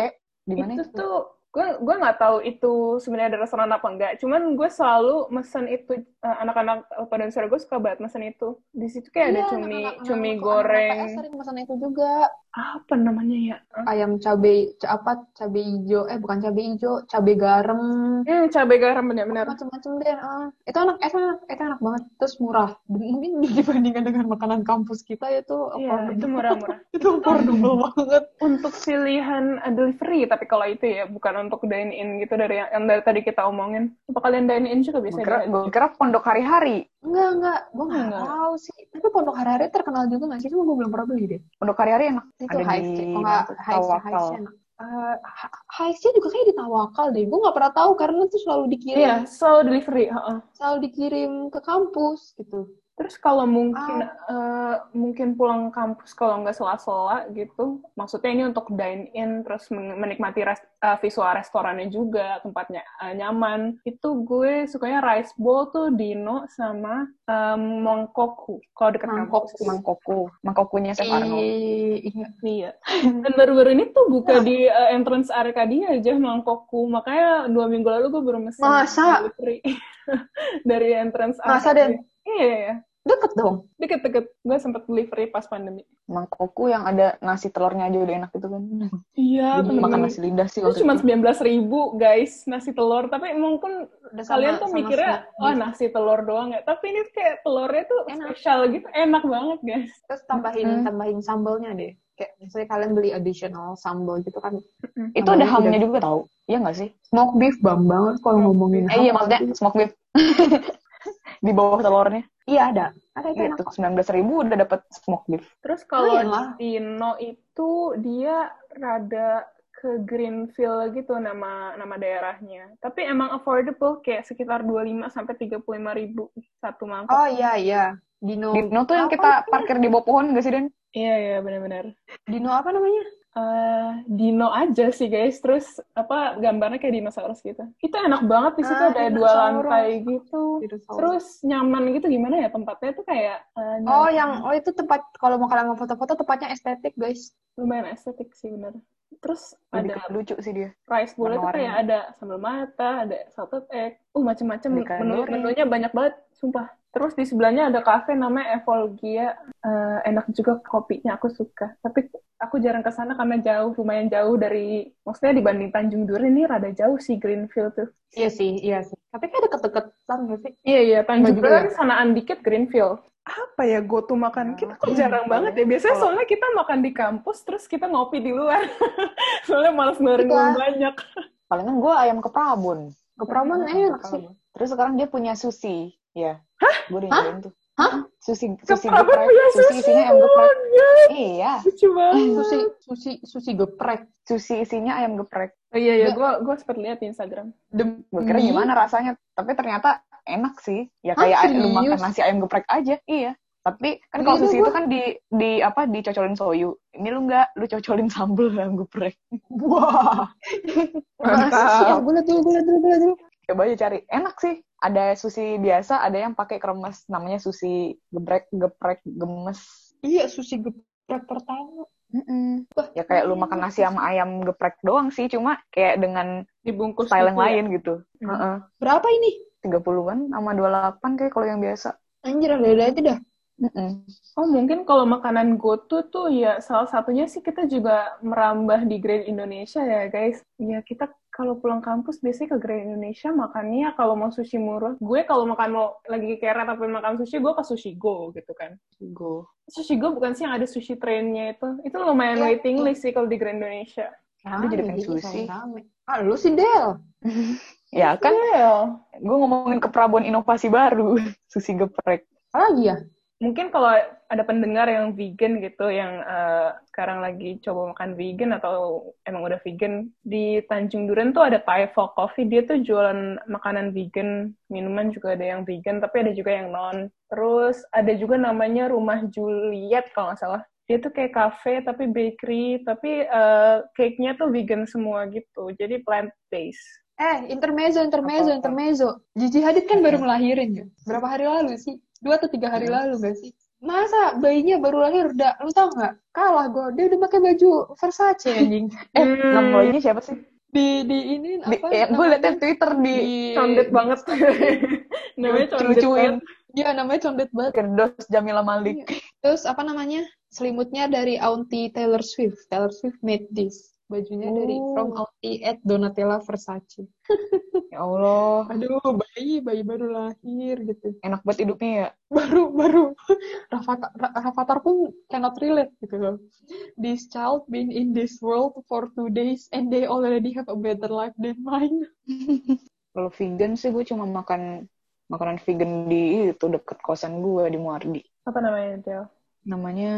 Speaker 4: Di mana
Speaker 2: itu
Speaker 4: itu?
Speaker 2: tuh gue gue nggak tahu itu sebenarnya ada restoran apa enggak. Cuman gue selalu mesen itu eh, anak-anak pada sore gue suka banget mesen itu. Di situ kayak ada cumi cumi goreng
Speaker 3: sering pesan itu juga
Speaker 2: apa namanya ya?
Speaker 3: ayam cabe ca- apa cabe hijau eh bukan cabe hijau cabe garam
Speaker 2: Hmm, cabai garam benar-benar.
Speaker 3: macam-macam deh ah. itu enak itu enak itu enak banget terus murah mungkin dibandingkan dengan makanan kampus kita itu
Speaker 2: Iya, itu murah-murah.
Speaker 3: itu affordable banget
Speaker 2: untuk pilihan uh, delivery, tapi kalau itu ya bukan untuk dine in gitu dari yang, yang dari tadi kita omongin. Apa kalian dine in juga
Speaker 4: Gue
Speaker 2: bisa?
Speaker 4: kira,
Speaker 2: di-
Speaker 4: gue kira pondok hari-hari.
Speaker 3: enggak enggak gue nggak
Speaker 2: Enggak.
Speaker 3: tahu sih tapi pondok hari-hari terkenal juga nggak sih cuma gue belum pernah beli deh
Speaker 4: Pondok hari-hari enak.
Speaker 3: itu
Speaker 4: Ada
Speaker 3: HSC
Speaker 4: di
Speaker 3: kalau nggak
Speaker 4: Bangkok,
Speaker 3: HSC
Speaker 4: Tawakal.
Speaker 3: HSC enak Eh, H- HSC juga kayak di Tawakal deh gue nggak pernah tahu karena itu selalu dikirim
Speaker 2: Iya, selalu delivery. heeh.
Speaker 3: selalu dikirim ke kampus gitu
Speaker 2: Terus kalau mungkin eh, mungkin pulang kampus kalau nggak sela-sela gitu, maksudnya ini untuk dine in terus men- menikmati res- eh, visual restorannya juga tempatnya eh, nyaman. Itu gue sukanya rice bowl tuh Dino sama eh, Mangkoku kalau deket kampus.
Speaker 3: Mangkoku.
Speaker 4: Mangkoku. Mangkokunya Chef Arnold.
Speaker 3: Eh, iya.
Speaker 2: Iya. Dan baru-baru ini tuh buka di uh, entrance Arcadia aja Mangkokku. Makanya dua minggu lalu gue baru mesen
Speaker 3: Masa?
Speaker 2: delivery dari entrance
Speaker 3: Masa,
Speaker 2: Arcadia. Iya, iya.
Speaker 3: Deket dong.
Speaker 2: Deket-deket. Gue sempet delivery pas pandemi.
Speaker 4: Mangkokku yang ada nasi telurnya aja udah enak gitu kan.
Speaker 2: Iya,
Speaker 4: Jadi makan
Speaker 2: teman-teman.
Speaker 4: nasi lidah sih
Speaker 2: Itu
Speaker 4: waktu
Speaker 2: cuma
Speaker 4: itu.
Speaker 2: 19.000 ribu, guys, nasi telur. Tapi mungkin
Speaker 5: Udah sama-
Speaker 2: kalian tuh
Speaker 5: sama
Speaker 2: mikirnya,
Speaker 5: snack.
Speaker 2: oh nasi telur doang ya. Tapi ini kayak telurnya tuh
Speaker 3: Enak.
Speaker 2: spesial gitu. Enak banget, guys.
Speaker 3: Terus tambahin
Speaker 4: Mm-mm.
Speaker 3: tambahin sambalnya deh. Kayak misalnya kalian beli additional sambal gitu kan.
Speaker 4: Itu ada hamnya juga tau. Iya nggak sih?
Speaker 3: Smoke beef bang banget kalau ngomongin
Speaker 4: Eh, iya maksudnya smoke beef. di bawah telurnya.
Speaker 3: Iya ada. Ada itu enak.
Speaker 4: Gitu. 19.000 udah dapat smoke beef.
Speaker 2: Terus kalau
Speaker 3: Lumayan lah.
Speaker 2: Dino itu dia rada ke Greenfield gitu nama nama daerahnya. Tapi emang affordable kayak sekitar 25 sampai 35 ribu satu mangkok.
Speaker 3: Oh iya iya. Dino
Speaker 4: Dino tuh yang
Speaker 3: apa
Speaker 4: kita parkir di bawah pohon gak sih, Den?
Speaker 2: Iya iya benar-benar.
Speaker 3: Dino apa namanya?
Speaker 2: eh dino aja sih guys terus apa gambarnya kayak dinosaurus gitu itu enak banget di situ
Speaker 3: Ah,
Speaker 2: ada dua
Speaker 3: dinosaurus.
Speaker 2: lantai gitu
Speaker 4: Oh.
Speaker 3: Dinosaurus.
Speaker 2: terus nyaman gitu gimana ya tempatnya tuh kayak eh, nyaman.
Speaker 3: Oh yang oh itu tempat kalau mau kalian foto-foto tempatnya estetik guys.
Speaker 2: lumayan estetik sih bener terus
Speaker 4: Lebih
Speaker 2: ada
Speaker 4: ke lucu sih dia.
Speaker 2: rice bowl itu
Speaker 4: warna-warni.
Speaker 2: kayak ada sambal mata ada salted egg uh macam-macam
Speaker 4: Ada kandori.
Speaker 2: menu menunya banyak banget sumpah terus di sebelahnya ada kafe namanya Evolgia Eh, enak juga kopinya aku suka tapi aku jarang ke sana karena jauh lumayan jauh dari maksudnya dibanding Tanjung Duren ini rada jauh sih Greenfield tuh
Speaker 3: Iya sih, iya sih. Tapi kan deket-deketan gak sih?
Speaker 2: Iya iya Tanjung
Speaker 3: Enggak juga
Speaker 2: Duren sanaan dikit Greenfield. Apa ya go to
Speaker 4: Nah,
Speaker 2: makan kita kok
Speaker 4: iya.
Speaker 2: jarang banget ya biasanya
Speaker 4: Kalau-
Speaker 2: soalnya kita makan di kampus terus kita ngopi di luar soalnya malas ngeluarin
Speaker 3: Iya.
Speaker 2: uang banyak.
Speaker 4: Palingan gue ayam ke Prabon.
Speaker 3: Ke Prambon enak sih.
Speaker 4: Terus sekarang dia punya sushi. Ya. Hah? Gue udah nyobain tuh.
Speaker 5: Hah?
Speaker 4: Sushi,
Speaker 2: Ke
Speaker 4: sushi
Speaker 2: Prabon
Speaker 4: geprek.
Speaker 2: punya
Speaker 4: Sushi
Speaker 2: sushi
Speaker 4: isinya ayam geprek. Iya.
Speaker 2: Lucu banget.
Speaker 5: Hmm.
Speaker 3: Susi, susi, susi geprek.
Speaker 4: Sushi isinya ayam geprek.
Speaker 2: Oh, iya iya gue gue sempat lihat di Instagram.
Speaker 5: Demi
Speaker 4: Gue
Speaker 3: Hmm?
Speaker 4: kira
Speaker 3: ya,
Speaker 4: gimana rasanya. Tapi ternyata enak sih. Ya kayak
Speaker 5: Hah,
Speaker 4: lu makan
Speaker 5: serius?
Speaker 4: nasi ayam geprek aja. Iya. Tapi kan kalau
Speaker 3: Iya,
Speaker 4: sushi
Speaker 3: gua-
Speaker 4: itu kan di di apa dicocolin soyu. Ini lu nggak, lu cocolin sambel ayam geprek.
Speaker 3: Wah. Masa sih?
Speaker 2: Mantap.
Speaker 3: Ya, gue liat dulu, gue liat dulu, gue liat dulu.
Speaker 4: Coba aja cari. Enak sih. Ada sushi biasa, ada yang pakai kremes. Namanya sushi geprek, geprek, gemes.
Speaker 3: Iya, susi geprek pertama.
Speaker 4: ya kayak lu makan nasi sama ayam geprek doang sih cuma kayak dengan
Speaker 2: Dibungkus
Speaker 4: style yang
Speaker 2: gitu ya.
Speaker 4: lain gitu
Speaker 2: Hmm.
Speaker 3: Berapa ini?
Speaker 4: tiga puluhan sama dua delapan kayak kalau yang biasa
Speaker 3: Anjir, ada itu dah.
Speaker 4: Mm-mm.
Speaker 2: Oh mungkin kalau makanan GoTo tuh ya salah satunya sih kita juga merambah di Grand Indonesia ya guys. Ya kita kalau pulang kampus biasanya ke Grand Indonesia makannya kalau mau sushi murah. Gue kalau makan mau lagi keret tapi makan sushi gue ke Sushi Go gitu kan.
Speaker 4: Go.
Speaker 2: Sushi Go bukan sih yang ada sushi trainnya itu. Itu lumayan
Speaker 3: Iya,
Speaker 2: waiting
Speaker 3: iya.
Speaker 2: list sih kalau di Grand Indonesia.
Speaker 3: Rame,
Speaker 4: jadi
Speaker 3: jadi
Speaker 4: pengen sushi.
Speaker 3: selalu rame. Ah, lu sih, Del.
Speaker 4: ya kan
Speaker 2: Well,
Speaker 4: gue ngomongin ke Prabon inovasi baru sushi geprek
Speaker 3: Apa lagi ya?
Speaker 2: mungkin kalau ada pendengar yang vegan gitu, yang eh, sekarang lagi coba makan vegan atau emang udah vegan, di Tanjung Duren tuh ada Thai Folk Coffee, dia tuh jualan makanan vegan, minuman juga ada yang vegan, tapi ada juga yang non. Terus ada juga namanya Rumah Juliet kalau nggak salah. Dia tuh kayak cafe tapi bakery, tapi eh, cake-nya tuh vegan semua gitu, jadi plant-based.
Speaker 3: Eh, intermezzo, intermezzo,
Speaker 4: Apa-apa.
Speaker 3: intermezzo. Gigi Hadid kan baru ngelahirin ya? Berapa hari lalu sih? Dua atau tiga hari lalu gak sih? Masa bayinya baru lahir udah, lu tau gak? Kalah gue, dia udah pakai baju Versace anjing.
Speaker 4: eh
Speaker 2: Hmm.
Speaker 4: namanya siapa sih
Speaker 3: Di, di ini
Speaker 4: di,
Speaker 3: apa?
Speaker 4: eh, gue
Speaker 3: kan.
Speaker 4: liatnya Twitter di
Speaker 2: Condet banget. Namanya condet
Speaker 4: lucuin
Speaker 2: banget.
Speaker 3: Dia Iya, namanya condet banget.
Speaker 4: kerdos Jamila Malik
Speaker 3: Terus apa namanya? Selimutnya dari Auntie Taylor Swift. Taylor Swift made this. Bajunya dari
Speaker 4: Oh.
Speaker 3: From Auntie at Donatella Versace.
Speaker 4: ya Allah
Speaker 3: Aduh, bayi, bayi baru lahir gitu.
Speaker 4: enak banget hidupnya ya
Speaker 3: Baru, baru. Rafathar, Ra- Rafathar pun cannot relate gitu loh. This child been in this world for two days and they already have a better life than mine.
Speaker 4: kalau vegan sih gue cuma makan makanan vegan di itu deket kosan gue di Muardi
Speaker 2: Apa namanya, Del?
Speaker 4: namanya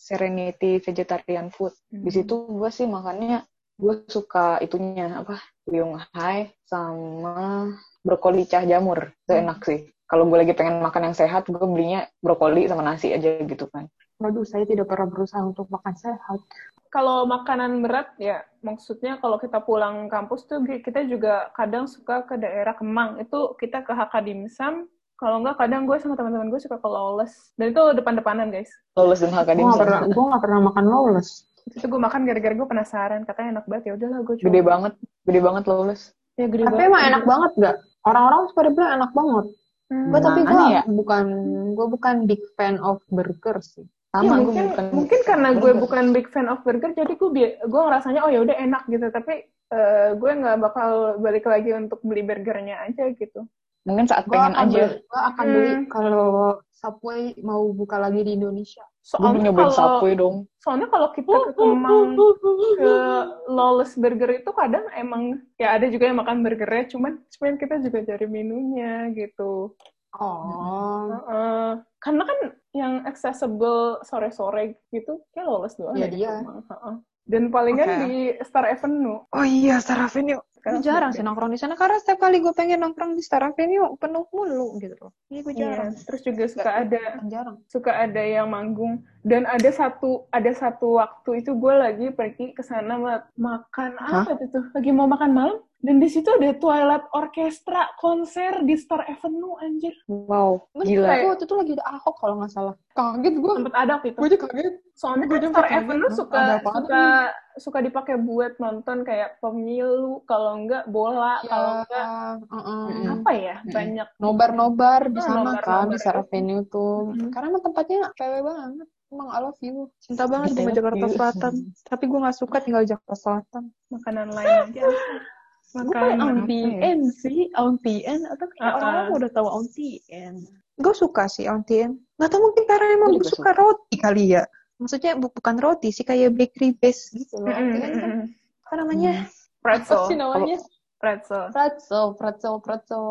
Speaker 4: Serenity Vegetarian Food. Di situ gue sih makannya gue suka itunya apa puyung hai sama brokoli cah jamur itu enak sih. Kalau gue lagi pengen makan yang sehat, gue belinya brokoli sama nasi aja gitu kan.
Speaker 3: Waduh, saya tidak pernah berusaha untuk makan sehat.
Speaker 2: kalau makanan berat ya maksudnya kalau kita pulang kampus tuh gi- kita juga kadang suka ke daerah Kemang itu kita ke Hakadimsam kalau enggak kadang gue sama teman-teman gue suka ke Lawless dan itu depan-depanan guys
Speaker 4: Lolos
Speaker 3: Gue
Speaker 4: dan
Speaker 3: gak pernah,
Speaker 4: hakadimsum.
Speaker 3: gue gak pernah makan lawless.
Speaker 2: itu gue makan gara-gara gue penasaran katanya enak banget ya udahlah gue coba
Speaker 4: Gede banget, gede banget lolos.
Speaker 2: ya gede
Speaker 3: Tapi
Speaker 2: banget
Speaker 3: emang enak banget gak? Orang-orang pada bilang enak banget.
Speaker 2: Hmm.
Speaker 5: Gua tapi gue
Speaker 4: Aneh ya?
Speaker 5: bukan gue bukan big fan of burger sih.
Speaker 2: Iya,
Speaker 4: Sama gue
Speaker 2: mungkin
Speaker 4: bukan.
Speaker 2: mungkin karena gue
Speaker 4: burger.
Speaker 2: bukan big fan of burger jadi gue bi- gue ngerasanya oh ya udah enak gitu tapi eh, gue nggak bakal balik lagi untuk beli burgernya aja gitu
Speaker 4: Mungkin saat
Speaker 5: Gue
Speaker 4: pengen
Speaker 5: akan
Speaker 4: aja.
Speaker 5: beli, gua akan beli
Speaker 2: Hmm.
Speaker 5: kalau Subway mau buka lagi di Indonesia.
Speaker 4: Gue
Speaker 2: soalnya
Speaker 4: nyobain
Speaker 2: kalau
Speaker 4: Subway dong.
Speaker 2: soalnya kalau kita ke Kemang ke Lawless Burger itu kadang emang ya ada juga yang makan burgernya cuman cuman kita juga cari menunya gitu
Speaker 5: Oh,
Speaker 2: Heeh. karena kan yang accessible sore-sore gitu kayak Lawless doang
Speaker 5: Iya,
Speaker 2: ya di
Speaker 5: iya.
Speaker 2: Kemang. Heeh. dan palingan
Speaker 4: Oke.
Speaker 2: di Star Avenue
Speaker 6: Oh iya, Star Avenue.
Speaker 2: Sekarang
Speaker 6: jarang
Speaker 2: sudah
Speaker 6: sih nongkrong di sana karena setiap kali gue pengen nongkrong di Star Avenue penuh mulu gitu loh. Iya, gue
Speaker 2: Iya,
Speaker 6: jarang.
Speaker 2: terus juga suka ada
Speaker 5: Iya. jarang.
Speaker 2: suka ada yang manggung dan ada satu ada satu waktu itu gue lagi pergi ke sana ma- makan apa itu tuh lagi mau makan malam dan di situ ada Twilight Orchestra konser di Star Avenue anjir
Speaker 4: Wow,
Speaker 5: Gila.
Speaker 4: gila.
Speaker 5: Gue waktu itu lagi ada Ahok kalau nggak salah. Kaget gue.
Speaker 2: tempat ada waktu itu
Speaker 5: Gue aja kaget.
Speaker 2: soalnya
Speaker 5: gue
Speaker 2: kan
Speaker 5: juga
Speaker 2: Star
Speaker 5: kaget,
Speaker 2: Avenue
Speaker 5: Bang.
Speaker 2: suka
Speaker 5: Ada apaan
Speaker 2: suka suka dipakai buat nonton kayak pemilu kalau enggak bola
Speaker 5: Iya.
Speaker 2: kalau
Speaker 5: ya.
Speaker 2: enggak
Speaker 4: Mm-mm.
Speaker 2: apa ya
Speaker 4: Mm-mm.
Speaker 2: banyak
Speaker 5: Nobar-nobar di
Speaker 2: Oh,
Speaker 5: sana kan,
Speaker 2: nobar-nobar
Speaker 5: di Star
Speaker 2: itu.
Speaker 5: Avenue tuh.
Speaker 2: Mm-mm.
Speaker 5: Karena emang tempatnya PW banget. Emang I love you.
Speaker 6: Cinta banget sama
Speaker 4: Thank
Speaker 6: Jakarta
Speaker 4: you.
Speaker 6: Selatan. Tapi gue gak suka tinggal di Jakarta Selatan.
Speaker 2: makanan lain aja
Speaker 6: Gue kayak
Speaker 2: makanan
Speaker 6: Auntie sih, Auntie atau kayak
Speaker 2: Ah,
Speaker 6: orang-orang
Speaker 2: ah.
Speaker 6: udah tahu Auntie Gue suka sih Auntie Gak tau mungkin karena emang
Speaker 4: Gua
Speaker 6: gue
Speaker 4: juga
Speaker 6: suka roti kali ya. Maksudnya bu- bukan roti sih, kayak bakery base gitu loh.
Speaker 2: Mm-mm,
Speaker 6: Auntie Anne kan
Speaker 2: mm-mm.
Speaker 6: apa namanya?
Speaker 5: Apa sih
Speaker 2: pretzel
Speaker 5: namanya?
Speaker 2: pretzel
Speaker 5: Pretzel, pretzel, pretzel.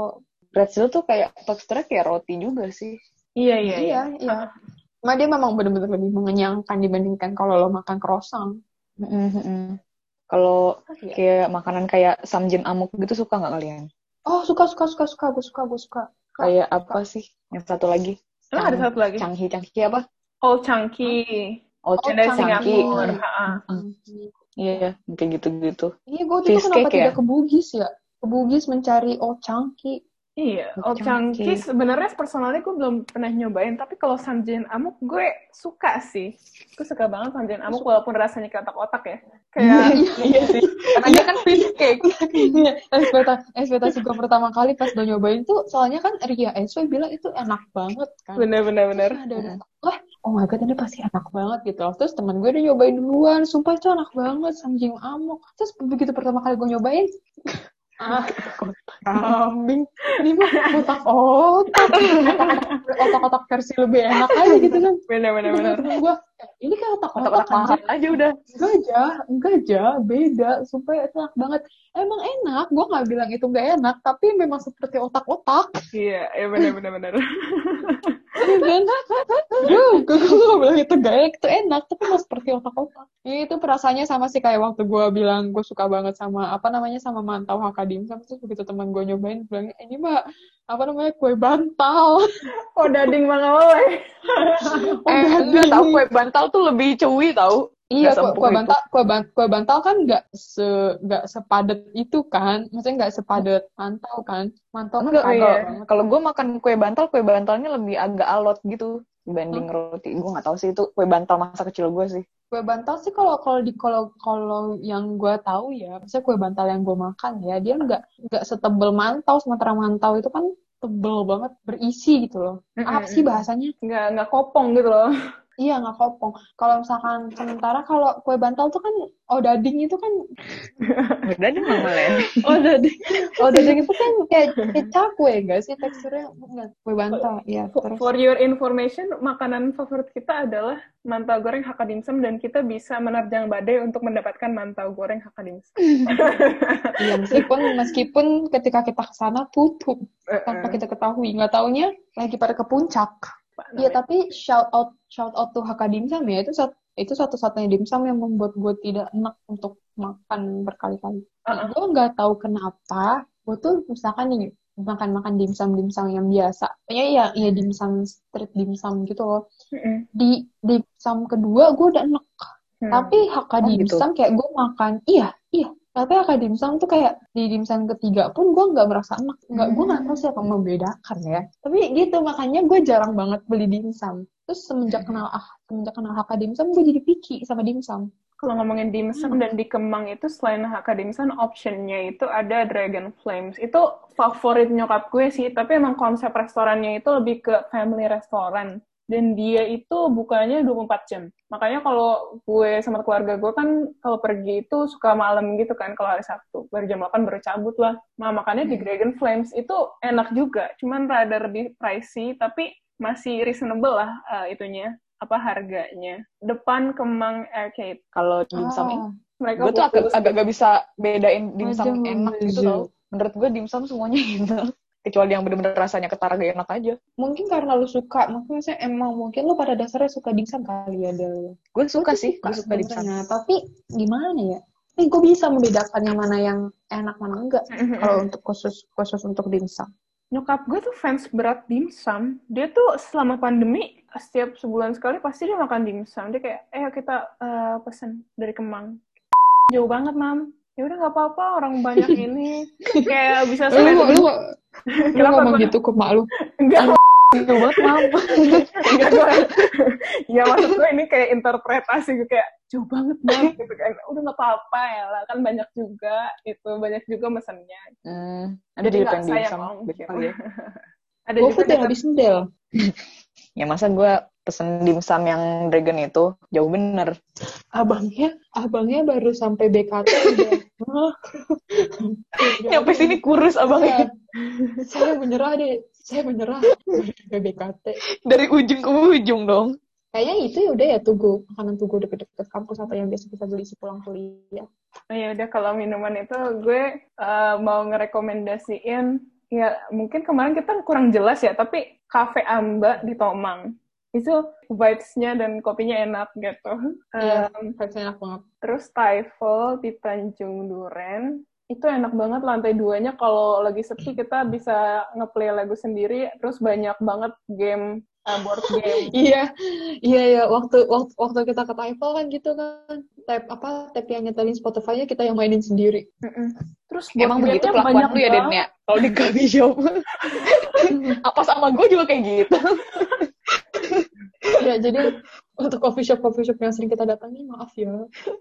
Speaker 4: Pretzel tuh kayak teksturnya kayak roti juga sih.
Speaker 2: iya iya iya
Speaker 5: Iya, iya. Cuma dia memang bener-bener lebih mengenyangkan dibandingkan kalau lo makan croissant.
Speaker 4: Kalau
Speaker 5: Iya.
Speaker 4: kayak makanan kayak samjen amuk gitu suka nggak kalian?
Speaker 5: Oh, suka, suka, suka, suka. Gue suka, gue suka.
Speaker 4: Kayak apa sih? Yang satu lagi?
Speaker 2: Emang ada satu lagi?
Speaker 4: Canghi, canghi apa?
Speaker 2: Old Chunky.
Speaker 4: Oh,
Speaker 5: Old
Speaker 2: Ada
Speaker 5: Chunky.
Speaker 2: Singapura. Ha-ha.
Speaker 4: Iya, iya. kayak gitu-gitu.
Speaker 5: Iya, gue tuh kenapa
Speaker 4: Cheesecake ya?
Speaker 5: tidak ke Bugis ya? Ke Bugis mencari
Speaker 6: oh,
Speaker 5: Old Chunky.
Speaker 2: Iya,
Speaker 4: Old
Speaker 2: Old Chunky
Speaker 4: Chunky.
Speaker 2: sebenarnya personalnya gue belum pernah nyobain, tapi kalau Sanjin Amuk gue suka sih. Gue suka banget Sanjin Amuk walaupun rasanya kotak-kotak ya. Kayak
Speaker 4: Iya sih.
Speaker 2: karena dia kan cheesecake.
Speaker 5: Iya, ekspeta- ekspektasi gue pertama kali pas udah nyobain tuh, soalnya kan Ria SW bilang itu enak banget kan.
Speaker 2: Bener bener bener.
Speaker 5: Terus ada yang, Wah, oh my god, ini pasti enak banget gitu loh. Terus teman gue udah nyobain duluan, sumpah itu enak banget, samjing amok. Terus begitu pertama kali gue nyobain, ah, kambing. Ini mah otak-otak. Otak-otak versi lebih enak aja gitu kan.
Speaker 2: Bener bener
Speaker 5: Terus
Speaker 2: bener.
Speaker 5: temen gue, "Eh, ini kan
Speaker 3: Oh,
Speaker 5: otak-otak
Speaker 4: Kotak-kotak
Speaker 5: anjir.
Speaker 4: mahal aja udah.
Speaker 5: Enggak aja, enggak aja, beda. Sumpah itu enak banget. Emang enak, gue gak bilang itu gak enak, tapi memang seperti otak-otak.
Speaker 2: Iya, iya bener bener bener.
Speaker 5: Iya kan? Gue gue gak bilang itu gak enak, itu enak, tapi memang seperti otak-otak. Ya, itu perasaannya sama sih kayak waktu gue bilang gue suka banget sama, apa namanya, sama mantau hakadim. Terus begitu teman gue nyobain, bilang, "Eh, ini mah, apa namanya, kue bantal. Oh,
Speaker 2: Oh dading mangawai.
Speaker 4: Eh,
Speaker 5: Udah
Speaker 4: enggak
Speaker 5: dingin.
Speaker 4: tahu kue bantal tuh lebih cuy tahu.
Speaker 5: Iya,
Speaker 4: Nggak
Speaker 5: kue,
Speaker 4: seempuk
Speaker 5: kue
Speaker 4: itu.
Speaker 5: bantal, kue, ban- kue bantal kan nggak se nggak sepadat itu kan, maksudnya nggak sepadat mantau kan, mantau kan
Speaker 4: Enggak,
Speaker 5: padat
Speaker 4: kalau
Speaker 5: banget.
Speaker 4: kalau gue makan kue bantal, kue bantalnya lebih agak alot gitu dibanding roti. Gue nggak tahu sih itu kue bantal masa kecil gue sih.
Speaker 5: Kue bantal sih kalau kalau di kalau kalau yang gue tahu ya, maksudnya kue bantal yang gue makan ya, dia nggak nggak setebel mantau, sementara mantau itu kan tebel banget, berisi gitu loh. Apa sih bahasanya?
Speaker 2: Nggak nggak kopong gitu loh.
Speaker 5: Iya, nggak kopong. Kalau misalkan sementara kalau kue bantal tuh kan odading itu kan
Speaker 4: Udah deh mama
Speaker 5: Oh, dading. Oh, dading itu kan kayak, kayak cakwe enggak sih teksturnya? Enggak, kue bantal. Iya,
Speaker 2: For,
Speaker 5: terus.
Speaker 2: for your information, makanan favorit kita adalah mantau goreng hakadimsem dan kita bisa menerjang badai untuk mendapatkan mantau goreng hakadimsem.
Speaker 5: Iya, meskipun meskipun ketika kita ke sana tutup tanpa kita ketahui, nggak taunya lagi pada ke puncak. Iya, tapi shout out shout out to Haka Dimsum ya. Itu sat- itu satu-satunya dimsum yang membuat gue tidak enak untuk makan berkali-kali.
Speaker 2: Uh-uh.
Speaker 5: Gue nggak tahu kenapa, gue tuh misalkan nih makan-makan dimsum dimsum yang biasa. Ya ya ya dimsum street dimsum gitu loh.
Speaker 2: Mm-mm.
Speaker 5: Di dimsum kedua gue udah enak.
Speaker 2: Hmm.
Speaker 5: Tapi Hakka
Speaker 4: Oh, gitu.
Speaker 5: Dimsum kayak gue makan, iya, iya. Tapi Hakka Dimsum tuh kayak di Dimsum ketiga pun gue nggak merasa enak. Nggak, gue nggak tahu siapa yang membedakan ya. Tapi gitu, makanya gue jarang banget beli Dimsum. Terus semenjak kenal ah, semenjak kenal Hakka Dimsum, gue jadi picky sama Dimsum.
Speaker 2: Kalau ngomongin dimsum dan di Kemang itu selain HK dimsum, optionnya itu ada Dragon Flames. Itu favorit nyokap gue sih, tapi emang konsep restorannya itu lebih ke family restoran. Dan dia itu bukanya 24 jam. Makanya kalau gue sama keluarga gue kan kalau pergi itu suka malam gitu kan kalau hari Sabtu. Baru jam 8 baru cabut lah. Nah makanya di Dragon Flames itu enak juga. Cuman rada lebih pricey tapi masih reasonable lah eh, itunya apa harganya depan Kemang Arcade
Speaker 3: Oh.
Speaker 4: Kalau dimsum ini,
Speaker 2: mereka
Speaker 4: gue tuh agak,
Speaker 2: bungkus
Speaker 4: agak gak bisa bedain dimsum
Speaker 3: Aduh,
Speaker 4: enak gitu
Speaker 3: Zul.
Speaker 4: tau. Menurut gue dimsum semuanya enak. Kecuali yang bener-bener rasanya ketara gak enak aja.
Speaker 3: Mungkin karena lu suka, maksudnya saya emang mungkin lu pada dasarnya suka dimsum kali ya, Del.
Speaker 4: Gue suka
Speaker 3: Gua tuh
Speaker 4: sih, gue suka dimsum. Nah,
Speaker 3: sebenarnya, Tapi gimana ya? Ini gue bisa membedakan yang mana yang enak, mana enggak.
Speaker 5: Mm-hmm.
Speaker 3: Kalau untuk khusus khusus untuk dimsum.
Speaker 2: nyokap gue tuh fans berat dimsum. Dia tuh selama pandemi setiap sebulan sekali pasti dia makan dimsum. Dia kayak, eh kita eh, pesen dari Kemang. Jauh banget, Mam. Ya udah nggak apa-apa, orang banyak ini kayak bisa
Speaker 5: Lu, lu, lu,
Speaker 2: Kenapa
Speaker 5: ngomong
Speaker 2: gua-
Speaker 5: gitu ke mak lu.
Speaker 2: Enggak,
Speaker 4: Jauh banget, Mam.
Speaker 2: enggak gue. ya maksud gue ini kayak interpretasi gue kayak jauh banget mam gitu kan. Udah nggak apa-apa ya lah, kan banyak juga itu banyak juga mesennya.
Speaker 4: Hmm, ada
Speaker 2: Jadi
Speaker 4: juga
Speaker 2: nggak
Speaker 4: yang
Speaker 2: sayang,
Speaker 4: dimsum.
Speaker 2: Om.
Speaker 4: Betul ya.
Speaker 2: Ada
Speaker 3: Gue
Speaker 2: juga
Speaker 3: udah
Speaker 2: di-
Speaker 3: habis Del.
Speaker 4: Ya masa gue pesen dimsum yang dragon itu jauh bener.
Speaker 3: Abangnya, abangnya baru sampai BKT udah. "Hah?"
Speaker 4: Nyampe sini kurus abangnya.
Speaker 3: Iya. Saya menyerah deh. Saya menyerah. Sampai BKT.
Speaker 4: Dari ujung ke ujung dong.
Speaker 3: Kayaknya itu ya udah ya tugu makanan tugu deket-deket kampus atau yang biasa kita beli sepulang kuliah.
Speaker 2: Oh ya udah kalau minuman itu gue eh, mau ngerekomendasiin ya mungkin kemarin kita kurang jelas ya tapi Cafe Amba di Tomang itu vibes-nya dan kopinya enak gitu.
Speaker 3: Iya.
Speaker 2: Em,
Speaker 3: Rasanya enak banget.
Speaker 2: terus Stifle di Tanjung Duren itu enak banget lantai duanya kalau lagi sepi kita bisa ngeplay lagu sendiri terus banyak banget game eh, board game.
Speaker 3: Iya, iya ya. Waktu waktu waktu kita ke Taipei kan gitu kan. Tap apa tap yang nyetelin Spotify-nya kita yang mainin sendiri.
Speaker 2: Mm-mm. Terus board
Speaker 3: Oh,
Speaker 4: Emang begitu
Speaker 2: game-nya
Speaker 4: kelakuan
Speaker 2: banyak
Speaker 4: lu ya, Den
Speaker 2: banget.
Speaker 4: ya? Kalau di coffee shop. Apa sama gue juga kayak gitu.
Speaker 3: Ya jadi untuk coffee shop coffee shop yang sering kita datangi maaf ya.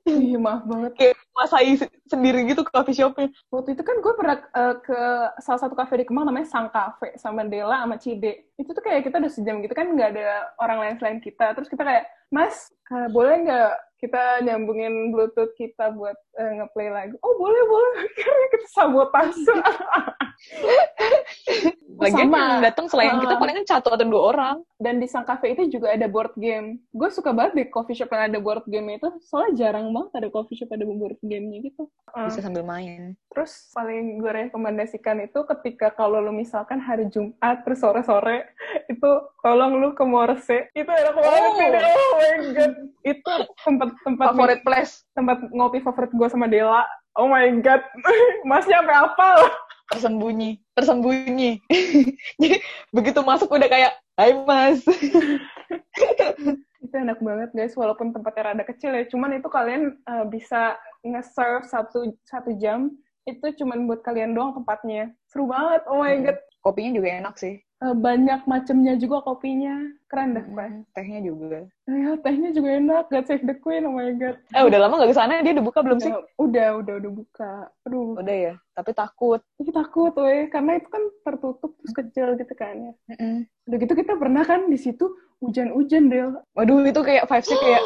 Speaker 2: Ih, maaf banget.
Speaker 4: Masai se- sendiri gitu ke coffee shopnya.
Speaker 2: Waktu itu kan gue pernah eh, ke salah satu kafe di Kemang namanya Sang Cafe sama Dela sama Cide. Itu tuh kayak kita udah sejam gitu kan nggak ada orang lain selain kita. Terus kita kayak, Mas, eh, boleh nggak kita nyambungin Bluetooth kita buat eh, ngeplay lagu? Oh boleh boleh. Akhirnya kita sabotase.
Speaker 4: Lagian
Speaker 2: Sama.
Speaker 4: yang datang selain kita
Speaker 2: Ah.
Speaker 4: paling kan satu atau dua orang.
Speaker 2: Dan di Sang Cafe itu juga ada board game. Gue suka banget di coffee shop yang ada board game itu. Soalnya jarang banget ada coffee shop ada board game-nya gitu.
Speaker 4: Bisa sambil main.
Speaker 2: Terus paling gue rekomendasikan itu ketika kalau lu misalkan hari Jumat terus sore-sore itu tolong lu ke Morse. Itu enak banget.
Speaker 4: Oh.
Speaker 2: Vin. Oh my god. Itu tempat tempat
Speaker 4: Favorite place.
Speaker 2: tempat ngopi favorit gue sama Dela. Oh my god. Masnya sampai apal.
Speaker 4: Tersembunyi. Tersembunyi. Jadi begitu masuk udah kayak, Hai mas.
Speaker 2: Itu enak banget guys walaupun tempatnya rada kecil ya. Cuman itu kalian eh, bisa nge-serve satu satu jam itu cuman buat kalian doang tempatnya. Seru banget. Oh my god.
Speaker 4: Kopinya juga enak sih.
Speaker 2: Eh, banyak macemnya juga kopinya. Keren dah, Bray.
Speaker 4: Tehnya juga.
Speaker 2: Ya, tehnya juga enak. God save the queen, oh my god.
Speaker 4: Eh udah lama gak kesana dia udah buka belum sih?
Speaker 2: Ya, udah, udah, udah buka. Aduh,
Speaker 4: Udah ya. Tapi takut.
Speaker 2: tapi takut, weh. Karena itu kan tertutup, terus kecil gitu kan. Ya. Udah gitu kita pernah kan di situ hujan-hujan, Del.
Speaker 4: Waduh itu kayak vibesnya kayak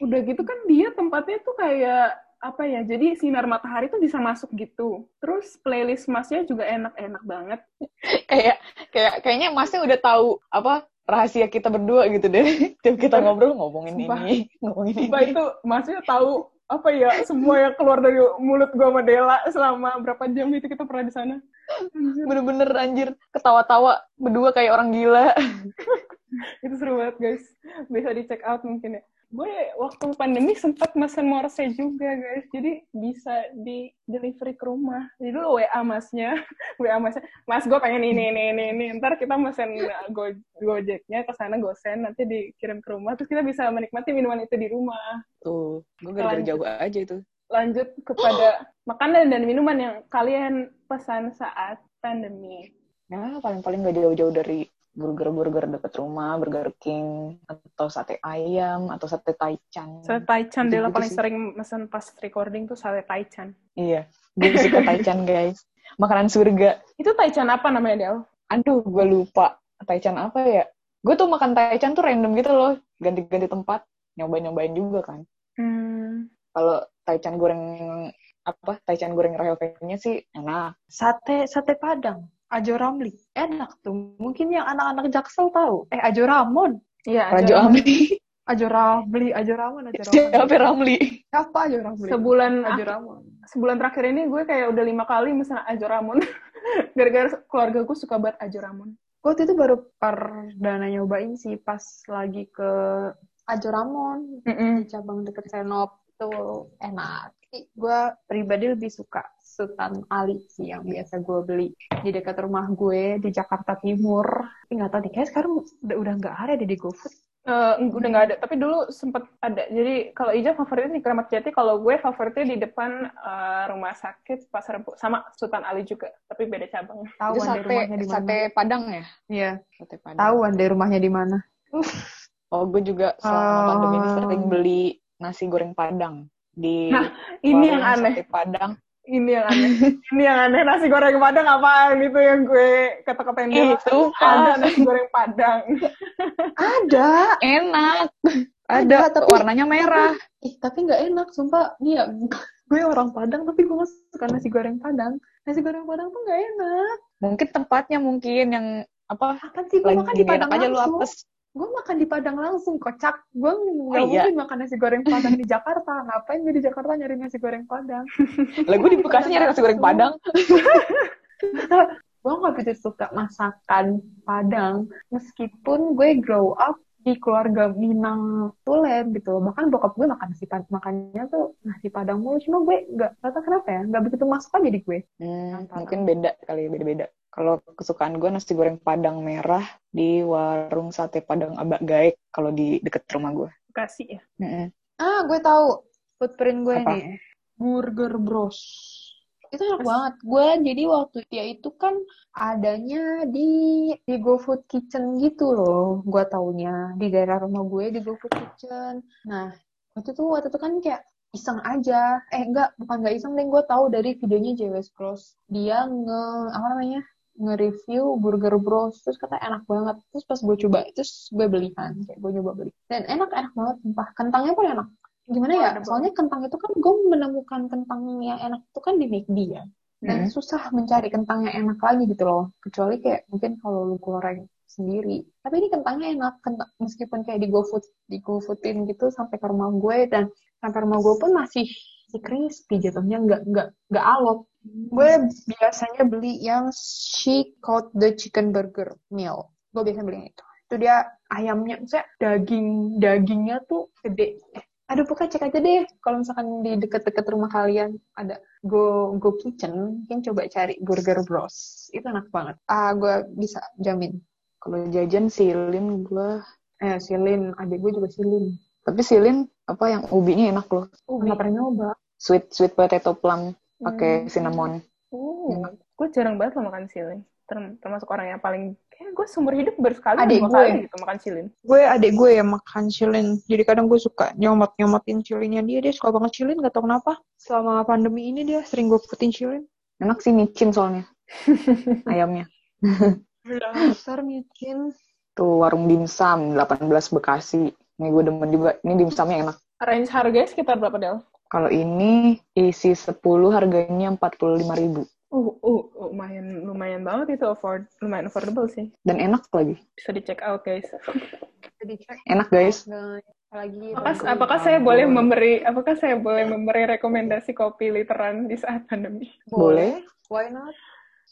Speaker 2: Udah gitu kan dia tempatnya tuh kayak apa ya jadi sinar matahari tuh bisa masuk gitu terus playlist masnya juga enak-enak banget
Speaker 4: kayak kayak kayaknya masnya udah tahu apa rahasia kita berdua gitu deh tiap kita ngobrol ngomongin
Speaker 2: Sumpah.
Speaker 4: ini ngomongin ini
Speaker 2: Sumpah itu masnya tahu apa ya semua yang keluar dari mulut gua sama Dela selama berapa jam itu kita pernah di sana
Speaker 4: bener-bener anjir ketawa-tawa berdua kayak orang gila
Speaker 2: itu seru banget guys bisa di check out mungkin ya gue waktu pandemi sempat mesen morse juga guys jadi bisa di delivery ke rumah jadi dulu wa masnya wa masnya mas gue pengen ini ini ini ini ntar kita mesen uh, go gojeknya ke sana gosen nanti dikirim ke rumah terus kita bisa menikmati minuman itu di rumah
Speaker 4: tuh gue gara-gara
Speaker 2: Lanjut.
Speaker 4: jauh aja itu
Speaker 2: lanjut kepada makanan dan minuman yang kalian pesan saat pandemi
Speaker 4: nah paling-paling gak Ya, jauh-jauh dari burger-burger deket rumah, Burger King, atau sate ayam, atau sate taichan.
Speaker 2: Sate Taichan,
Speaker 4: Gitu-gitu
Speaker 2: Dela paling
Speaker 4: sih.
Speaker 2: sering mesen pas recording tuh sate Taichan.
Speaker 4: Iya, gue suka taichan guys. Makanan surga.
Speaker 2: Itu Taichan apa namanya, Del?
Speaker 4: Aduh, gue lupa taichan apa ya. Gue tuh makan taichan tuh random gitu loh, ganti-ganti tempat, nyobain-nyobain juga kan.
Speaker 2: Hmm.
Speaker 4: Kalau taichan goreng apa taichan goreng rayovennya sih enak.
Speaker 3: Sate sate Padang, Ajo Ramli. Enak tuh. Mungkin yang anak-anak Jaksel tahu. Eh Ajo Ramon,
Speaker 2: Iya,
Speaker 4: Rajo
Speaker 2: Ajo.
Speaker 4: Amli,
Speaker 3: Ajo Ramli, Ajo Ramon, Ajo Ramon.
Speaker 4: siapa Ramli?
Speaker 3: Siapa Ajo Ramli?
Speaker 2: Sebulan ah,
Speaker 3: Ajo Ramon.
Speaker 2: sebulan terakhir ini gue kayak udah lima kali mesen Ajo Ramon. Gara-gara keluarga gue suka banget Ajo Ramon.
Speaker 3: Gue waktu itu baru perdana nyobain sih pas lagi ke Ajo Ramon di cabang deket Senop tuh enak. Gue pribadi lebih suka Sultan Ali sih yang biasa gue beli di dekat rumah gue di Jakarta Timur. Tapi nggak tahu deh, kayak sekarang udah udah nggak ada deh di GoFood.
Speaker 2: Eh, udah nggak ada tapi dulu sempet ada jadi kalau Ija favoritnya di Kramat Jati kalau gue favoritnya di depan eh, rumah sakit Pasar Rebo sama Sultan Ali juga tapi beda cabang
Speaker 3: Tahu
Speaker 4: Itu
Speaker 3: ada
Speaker 4: sate
Speaker 3: rumahnya di mana?
Speaker 4: sate Padang ya?
Speaker 3: Iya,
Speaker 4: Sate Padang.
Speaker 3: tahu ada rumahnya di mana.
Speaker 4: Oh, gue juga selama
Speaker 3: Oh.
Speaker 4: pandemi ini sering beli nasi goreng Padang di
Speaker 2: Nah,
Speaker 4: warung
Speaker 2: ini yang aneh
Speaker 4: Sate Padang.
Speaker 2: ini yang aneh ini yang aneh nasi goreng padang apaan itu yang gue kata-katain
Speaker 3: Iya,
Speaker 2: dulu
Speaker 4: Eh, Itu
Speaker 2: ada nasi goreng padang
Speaker 3: Ada,
Speaker 4: enak.
Speaker 3: Ada,
Speaker 4: Ada,
Speaker 3: tapi-
Speaker 4: warnanya merah.
Speaker 3: Ih, tapi nggak enak, sumpah. Iya, gue orang Padang, tapi gue masih suka nasi goreng Padang. Nasi goreng Padang tuh nggak enak.
Speaker 4: Mungkin tempatnya mungkin yang apa?
Speaker 3: Akan sih, gue
Speaker 4: lagi
Speaker 3: makan di
Speaker 4: nggak enak
Speaker 3: Padang
Speaker 4: aja lu
Speaker 3: langsung.
Speaker 4: apes.
Speaker 3: Gue makan di Padang langsung, kocak. Gue nggak
Speaker 4: Oh, iya.
Speaker 3: mungkin makan nasi goreng Padang di Jakarta. Ngapain gue di Jakarta nyari nasi goreng Padang?
Speaker 4: Lah gue di Bekasi nyari nasi goreng Padang.
Speaker 3: Gue nggak begitu suka masakan Padang. Meskipun gue grow up di keluarga Minang Tulen gitu. Bahkan bokap gue makan nasi Padang. Makannya tuh nasi Padang mulu. Cuma gue nggak, nggak tahu kenapa ya. Nggak begitu masuk aja di gue.
Speaker 4: Hmm, mungkin beda kali, beda-beda. Kalau kesukaan gue nasi goreng Padang merah di warung sate Padang Abak Gaek kalau di deket rumah gue.
Speaker 2: kasih ya
Speaker 4: Mm-mm.
Speaker 3: Ah, gue tahu footprint gue
Speaker 4: Apa?
Speaker 3: nih. Burger Bros. Itu enak banget. Gue jadi waktu dia itu kan adanya di di GoFood Kitchen gitu loh. Gue taunya di daerah rumah gue di GoFood Kitchen. Nah, waktu itu waktu itu kan kayak iseng aja. Eh, enggak, bukan enggak iseng deh. Gue tahu dari videonya JWS Bros. Dia nge apa namanya? nge-review Burger Bros terus kata enak banget terus pas gue coba terus gue beli kan kayak gue nyoba beli dan enak enak banget sumpah kentangnya pun enak gimana ya soalnya kentang itu kan gue menemukan kentang yang enak itu kan di McD ya dan susah mencari kentang yang enak lagi gitu loh kecuali kayak mungkin kalau lu goreng sendiri tapi ini kentangnya enak kentang, meskipun kayak di GoFood di GoFoodin gitu sampai ke rumah gue dan sampai rumah gue pun masih masih crispy jatuhnya nggak nggak nggak alot gue Hmm. biasanya beli yang she called the chicken burger meal gue biasanya beli yang itu itu dia ayamnya maksudnya daging dagingnya tuh gede Eh, aduh pokoknya cek aja deh kalau misalkan di deket-deket rumah kalian ada go go kitchen mungkin coba cari burger bros itu enak banget ah gue bisa jamin
Speaker 4: Kalau jajan silin gue
Speaker 3: eh silin adik gue juga silin
Speaker 4: Tapi silin apa yang ubinya enak loh.
Speaker 3: nggak pernah nyoba
Speaker 4: Sweet sweet potato plum
Speaker 5: Hmm.
Speaker 4: pakai cinnamon.
Speaker 2: uh, gue jarang banget loh makan silin Term- termasuk orang yang paling kayak gue seumur hidup baru sekali
Speaker 3: Adik
Speaker 2: dua
Speaker 3: gue.
Speaker 2: kali gitu makan silin
Speaker 5: gue adik gue yang makan cilin jadi kadang gue suka nyomot nyomotin cilinnya dia dia suka banget cilin gak tau kenapa selama pandemi ini dia sering gue putin cilin
Speaker 4: Enak sih micin soalnya. Ayamnya.
Speaker 5: dasar micin
Speaker 4: Tuh warung dimsum 18 Bekasi. Ini gue demen juga. Ini dimsumnya enak.
Speaker 2: range harganya sekitar berapa Del?
Speaker 4: Kalau ini isi 10 harganya 45.000
Speaker 2: Uh, uh, uh, lumayan lumayan banget itu afford lumayan affordable sih
Speaker 4: dan enak lagi.
Speaker 2: bisa di check out guys
Speaker 3: jadi cek
Speaker 4: Enak guys.
Speaker 3: lagi
Speaker 2: apakah, apakah saya boleh memberi apakah saya boleh memberi rekomendasi kopi literan di saat pandemi
Speaker 4: Boleh.
Speaker 3: why not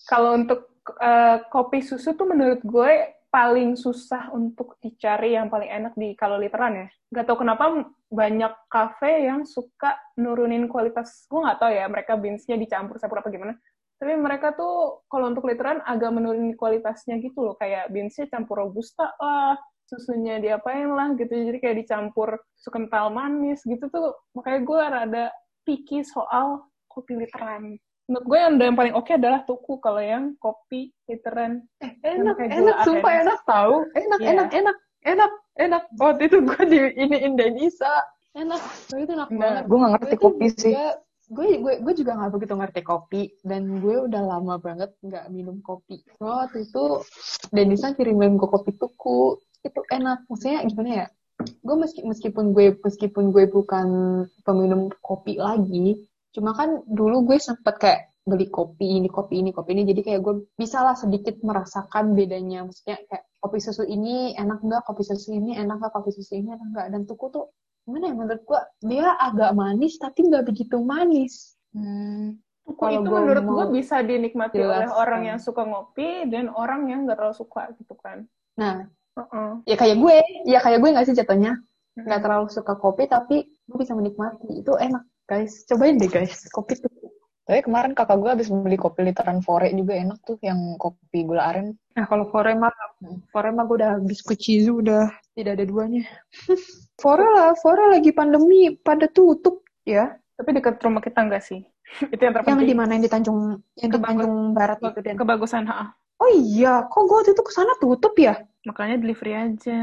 Speaker 2: kalau untuk eh, kopi susu tuh menurut gue paling susah untuk dicari yang paling enak di kalau literan ya. Gak tau kenapa banyak kafe yang suka nurunin kualitas. Gue nggak tahu ya mereka beansnya dicampur campur apa gimana. Tapi mereka tuh kalau untuk literan agak menurunin kualitasnya gitu loh. Kayak beansnya campur robusta lah, susunya diapain lah gitu. Jadi kayak dicampur susu kental manis gitu tuh. Makanya gue rada picky soal kopi literan. menurut gue yang, yang paling oke adalah tuku kalau yang kopi literan
Speaker 3: enak
Speaker 2: Kayak
Speaker 3: enak
Speaker 2: gula
Speaker 3: sumpah
Speaker 2: aren.
Speaker 3: enak tahu enak
Speaker 2: Iya.
Speaker 3: enak enak enak enak waktu itu gue di iniin Denisa enak waktu itu enak
Speaker 2: Nah,
Speaker 3: banget
Speaker 4: Gue nggak ngerti
Speaker 3: Gue tuh
Speaker 4: kopi sih.
Speaker 3: juga- Gue gue gue juga nggak begitu ngerti kopi dan gue udah lama banget nggak minum kopi. Cuma Waktu itu Denisa kirimin gue kopi tuku itu enak. Maksudnya gimana ya? Gue meski, meskipun gue meskipun gue bukan peminum kopi lagi, cuma kan dulu gue sempet kayak beli kopi ini kopi ini kopi ini jadi kayak gue bisa lah sedikit merasakan bedanya maksudnya kayak kopi susu ini enak nggak kopi susu ini enak nggak kopi susu ini enak nggak dan tuku tuh gimana ya menurut gua dia agak manis tapi nggak begitu manis
Speaker 4: Hmm.
Speaker 2: Tuku
Speaker 3: Kalau
Speaker 2: itu
Speaker 3: gua
Speaker 2: menurut
Speaker 3: mau
Speaker 2: gue kan. bisa dinikmati oleh
Speaker 3: jelaskan.
Speaker 2: orang yang suka ngopi dan orang yang nggak terlalu suka gitu kan
Speaker 3: nah
Speaker 2: Heeh.
Speaker 3: ya kayak gue ya kayak gue nggak sih jatuhnya
Speaker 4: Hmm.
Speaker 3: nggak terlalu suka kopi tapi gue bisa menikmati itu enak guys cobain deh guys kopi tuh
Speaker 4: Tapi kemarin kakak gue habis beli kopi literan fore juga enak tuh yang kopi gula aren. Hmm.
Speaker 3: nah kalau fore mah fore mah gue udah habis ke Cizu udah tidak ada duanya fore lah fore lagi pandemi pada tutup ya
Speaker 2: tapi dekat rumah kita nggak sih itu yang
Speaker 3: yang di
Speaker 2: terpenting
Speaker 3: mana yang di Tanjung yang di
Speaker 2: Kebagus-
Speaker 3: Tanjung Barat itu dan
Speaker 2: kebagusan ha
Speaker 3: oh iya kok gue waktu itu kesana tutup ya
Speaker 2: makanya delivery aja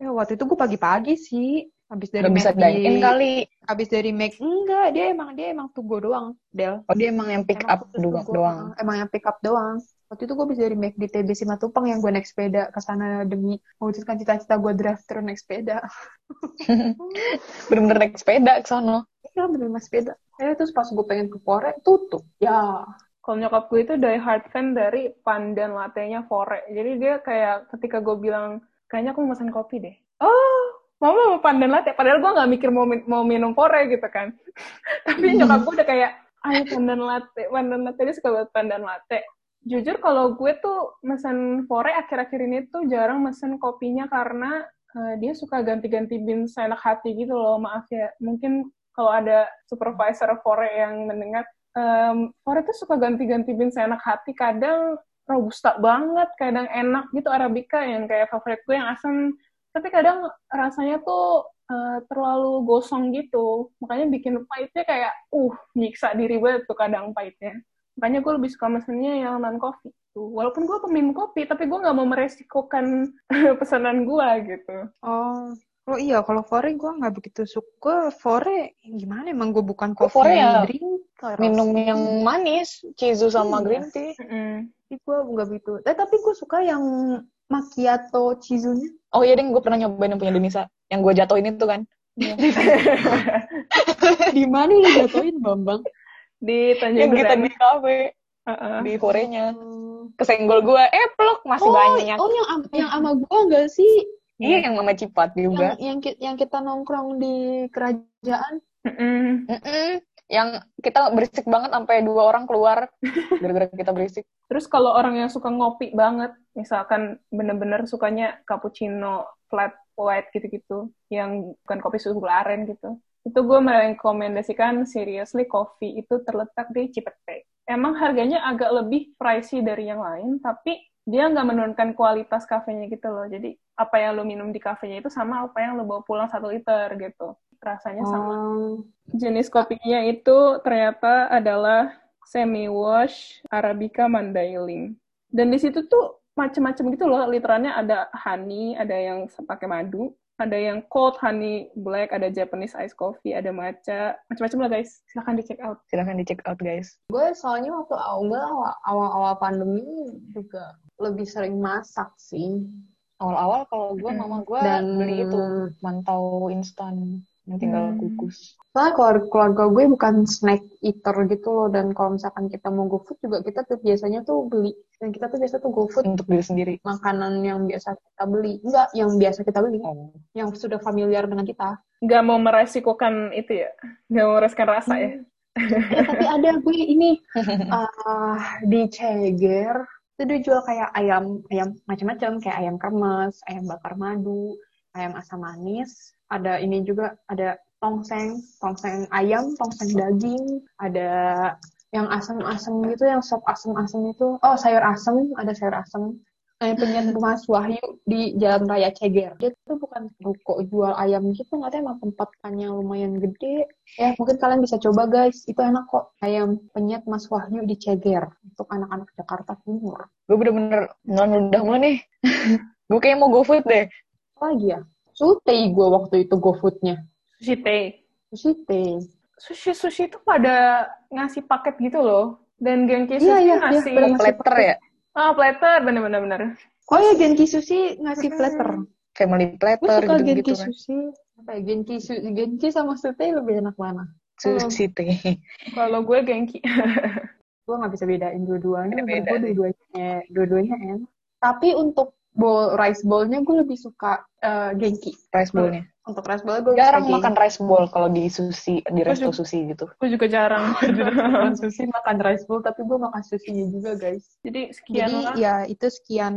Speaker 3: Ya, waktu itu gue pagi-pagi sih. Habis dari
Speaker 4: Gak bisa
Speaker 3: McD.
Speaker 4: dine in kali.
Speaker 3: Habis dari Mac. Enggak, dia emang dia emang tugo doang, Del.
Speaker 4: Oh dia emang yang pick
Speaker 3: Emang
Speaker 4: up
Speaker 3: khusus
Speaker 4: doang.
Speaker 3: Tugo,
Speaker 4: doang.
Speaker 3: eh, Emang yang pick up doang. Waktu itu gue habis dari McD TBC Matupang yang gue naik sepeda ke sana demi mewujudkan cita-cita gue drive thru naik sepeda.
Speaker 4: Bener-bener naik sepeda ke sono.
Speaker 3: Iya, bener mas sepeda. Eh, terus pas gue pengen ke Pore, tutup. Ya,
Speaker 2: kalau nyokap gue itu die hard fan dari pandan latte-nya fore. Jadi dia kayak ketika gue bilang, kayaknya aku mau pesan kopi deh. Oh, mama mau pandan latte. Padahal gue nggak mikir mau, min- mau minum fore gitu kan. Tapi nyokap gue udah kayak, ayo pandan latte, pandan latte. Dia suka banget pandan latte. Jujur kalau gue tuh mesen fore akhir-akhir ini tuh jarang mesen kopinya karena eh, dia suka ganti-ganti bin seenak hati gitu loh. Maaf ya, mungkin kalau ada supervisor fore yang mendengar, Em, Fore tuh suka ganti-ganti bin seenak hati. Kadang robusta banget, kadang enak gitu Arabica yang kayak favorit gue yang asam. Tapi kadang rasanya tuh eh, terlalu gosong gitu. Makanya bikin pahitnya kayak, uh, nyiksa diri banget tuh kadang pahitnya. Makanya gue lebih suka mesennya yang non-coffee. Tuh. Walaupun gue peminum kopi, tapi gue nggak mau meresikokan pesanan gue gitu.
Speaker 5: Oh, oh iya kalau fore gue nggak begitu suka. Fore gimana emang gue bukan
Speaker 4: Gua
Speaker 5: coffee
Speaker 4: fore ya
Speaker 5: drinker.
Speaker 4: Minum yang manis. Cizu
Speaker 5: Hmm.
Speaker 4: sama green tea.
Speaker 2: Mm-mm.
Speaker 3: tapi gue nggak begitu. Eh, tapi gue suka yang macchiato cizunya.
Speaker 4: Oh iya ding gue pernah nyobain yang punya Denisa. Yang gue jatuhin itu kan.
Speaker 3: Di mana lu jatuhin, Bambang?
Speaker 2: Di Tanjung
Speaker 4: Yang kita
Speaker 2: Duren.
Speaker 4: di kafe.
Speaker 2: Heeh.
Speaker 4: Di forenya. Kesenggol gue. Eh peluk masih banyak.
Speaker 3: Oh, yang am- yang sama gue enggak sih?
Speaker 4: Iya yang mama cipat
Speaker 3: yang
Speaker 4: juga.
Speaker 3: yang ki- yang kita nongkrong di kerajaan
Speaker 2: Mm-mm.
Speaker 4: Mm-mm. Yang kita berisik banget sampai dua orang keluar. Gara-gara kita berisik.
Speaker 2: Terus kalau orang yang suka ngopi banget, misalkan bener-bener sukanya cappuccino, flat white gitu-gitu, yang bukan kopi susu gula aren gitu, itu gue merekomendasikan seriously coffee itu terletak di Cipete. Emang harganya agak lebih pricey dari yang lain, tapi dia nggak menurunkan kualitas kafenya gitu loh. Jadi apa yang lo minum di kafenya itu sama apa yang lo bawa pulang satu liter gitu. Rasanya sama jenis kopinya itu ternyata adalah semi wash arabica mandailing. Dan di situ tuh macem-macem gitu loh, literannya ada honey, ada yang pakai madu, ada yang cold honey black, ada Japanese ice coffee, ada matcha, macam-macam lah guys. Silahkan di check out.
Speaker 4: Silahkan di check out guys.
Speaker 3: gue soalnya waktu awal awal awal pandemi juga lebih sering masak sih
Speaker 4: Awal-awal kalau gue mama gue
Speaker 3: dan
Speaker 4: beli itu mantau instan yang tinggal
Speaker 2: Hmm.
Speaker 4: kukus.
Speaker 3: soalnya keluarga, keluarga gue bukan snack eater gitu loh dan kalau misalkan kita mau go food juga kita tuh biasanya tuh beli dan kita tuh biasa tuh go food
Speaker 4: untuk diri sendiri.
Speaker 3: makanan yang biasa kita beli enggak yang biasa kita beli
Speaker 4: Oh.
Speaker 3: yang sudah familiar dengan kita
Speaker 2: Nggak mau meresikokan itu ya, nggak mau meresikokan rasa ya.
Speaker 3: Eh, tapi ada gue ini eh, di Ceger itu dia jual kayak ayam ayam macam-macam kayak ayam kremes, ayam bakar madu, ayam asam manis. Ada ini juga ada tongseng, tongseng ayam, tongseng daging, ada yang asam-asam gitu, yang sop asam-asam itu. Oh, sayur asam, ada sayur asam. eh, pengen rumah Mas Wahyu di Jalan Raya Ceger. Dia tuh bukan ruko jual ayam gitu, nggak tahu emang tempatnya lumayan gede. Ya mungkin kalian bisa coba guys, itu enak kok. Ayam penyet Mas Wahyu di Ceger untuk anak-anak Jakarta Timur.
Speaker 4: Gue bener-bener ngelan udah mulu nih. gue kayaknya mau go food deh.
Speaker 3: Apa lagi ya? Sutei gue waktu itu GoFood-nya.
Speaker 2: Sushi teh.
Speaker 3: Sutei.
Speaker 2: Sushi sushi itu pada ngasih paket gitu loh. Dan Genki
Speaker 3: Iya,
Speaker 2: Sushi
Speaker 3: iya, iya,
Speaker 2: ngasih
Speaker 3: bener.
Speaker 4: Platter ya?
Speaker 2: ah platter bener-bener bener.
Speaker 3: Oh ya Genki Sushi ngasih platter. Gue
Speaker 4: Family platter
Speaker 3: suka Genki
Speaker 4: gitu-gitu kan.
Speaker 3: Sushi. Apa ya, Genki, Su- Genki sama Sutei lebih enak mana?
Speaker 4: Sushi teh.
Speaker 2: Kalau gue Genki.
Speaker 3: gue nggak bisa bedain dua-duanya
Speaker 4: Beda-beda
Speaker 3: gue dua-duanya eh, dua-duanya enak tapi untuk bowl rice bowl-nya gue lebih suka eh, genki
Speaker 4: Rice bowl-nya.
Speaker 3: untuk rice bowl gue
Speaker 4: Jarang makan rice bowl kalau di sushi, di resto sushi gitu.
Speaker 2: gue juga jarang.
Speaker 3: makan sushi makan rice bowl tapi gue makan sushinya juga guys
Speaker 2: Jadi sekian
Speaker 4: Iya,
Speaker 5: Jadi
Speaker 2: lah.
Speaker 3: iya.
Speaker 5: ya itu sekian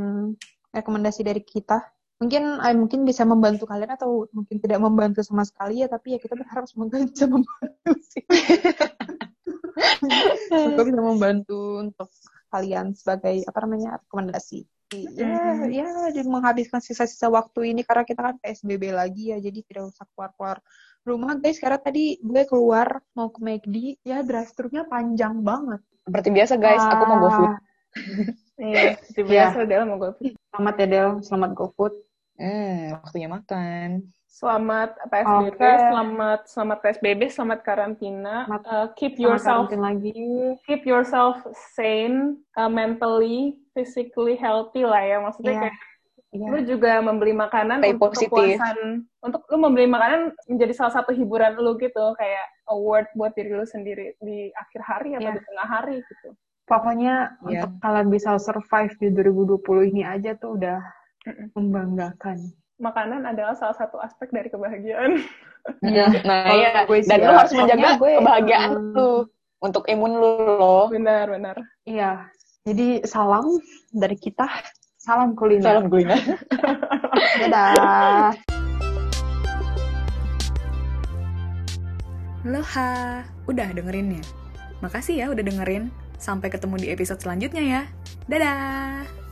Speaker 5: rekomendasi dari kita. Mungkin eh, mungkin bisa membantu kalian atau mungkin tidak membantu sama sekali ya, tapi ya kita berharap semoga bisa membantu sih. semoga bisa membantu untuk kalian sebagai apa namanya rekomendasi. Ya, ya jadi menghabiskan sisa-sisa waktu ini karena kita kan PSBB lagi ya, jadi tidak usah keluar-keluar rumah guys. Karena tadi gue keluar mau ke McD, ya drive thru-nya panjang banget.
Speaker 4: Seperti biasa guys, aku mau go food.
Speaker 3: Ah,
Speaker 2: Iya, seperti biasa Del mau gue.
Speaker 3: selamat ya Del selamat GoFood
Speaker 4: Hmm, waktunya makan.
Speaker 2: Selamat ya, PSBB,
Speaker 3: Oke.
Speaker 2: selamat selamat PSBB, selamat karantina.
Speaker 3: Selamat-
Speaker 2: Uh, keep
Speaker 3: Selamat
Speaker 2: yourself
Speaker 3: karantin lagi
Speaker 2: keep yourself sane, uh, mentally, physically healthy lah ya. Maksudnya
Speaker 5: Iya.
Speaker 2: kayak
Speaker 3: Iya.
Speaker 2: lu juga membeli makanan
Speaker 4: Stay
Speaker 2: untuk
Speaker 4: positive.
Speaker 2: kepuasan, untuk lu membeli makanan menjadi salah satu hiburan lu gitu, kayak award buat diri lu sendiri di akhir hari atau
Speaker 3: Iya.
Speaker 2: di tengah hari gitu.
Speaker 3: pokoknya
Speaker 4: Iya.
Speaker 3: untuk kalian bisa survive di 2020 ini aja tuh udah
Speaker 2: Mm-mm.
Speaker 3: membanggakan
Speaker 2: Makanan adalah salah satu aspek dari kebahagiaan.
Speaker 3: Iya.
Speaker 4: Nah,
Speaker 3: Kalau
Speaker 4: iya.
Speaker 3: gue sih
Speaker 4: Dan
Speaker 3: ya,
Speaker 4: lu harus
Speaker 3: pokoknya
Speaker 4: menjaga
Speaker 3: gue,
Speaker 4: kebahagiaan
Speaker 3: hmm.
Speaker 4: lu untuk imun lu loh.
Speaker 2: benar, benar.
Speaker 3: Iya, jadi salam dari kita. Salam kuliner.
Speaker 4: Salam kuliner.
Speaker 3: Dadah.
Speaker 7: Loha, udah dengerin ya? Makasih ya udah dengerin. Sampai ketemu di episode selanjutnya ya. Dadah!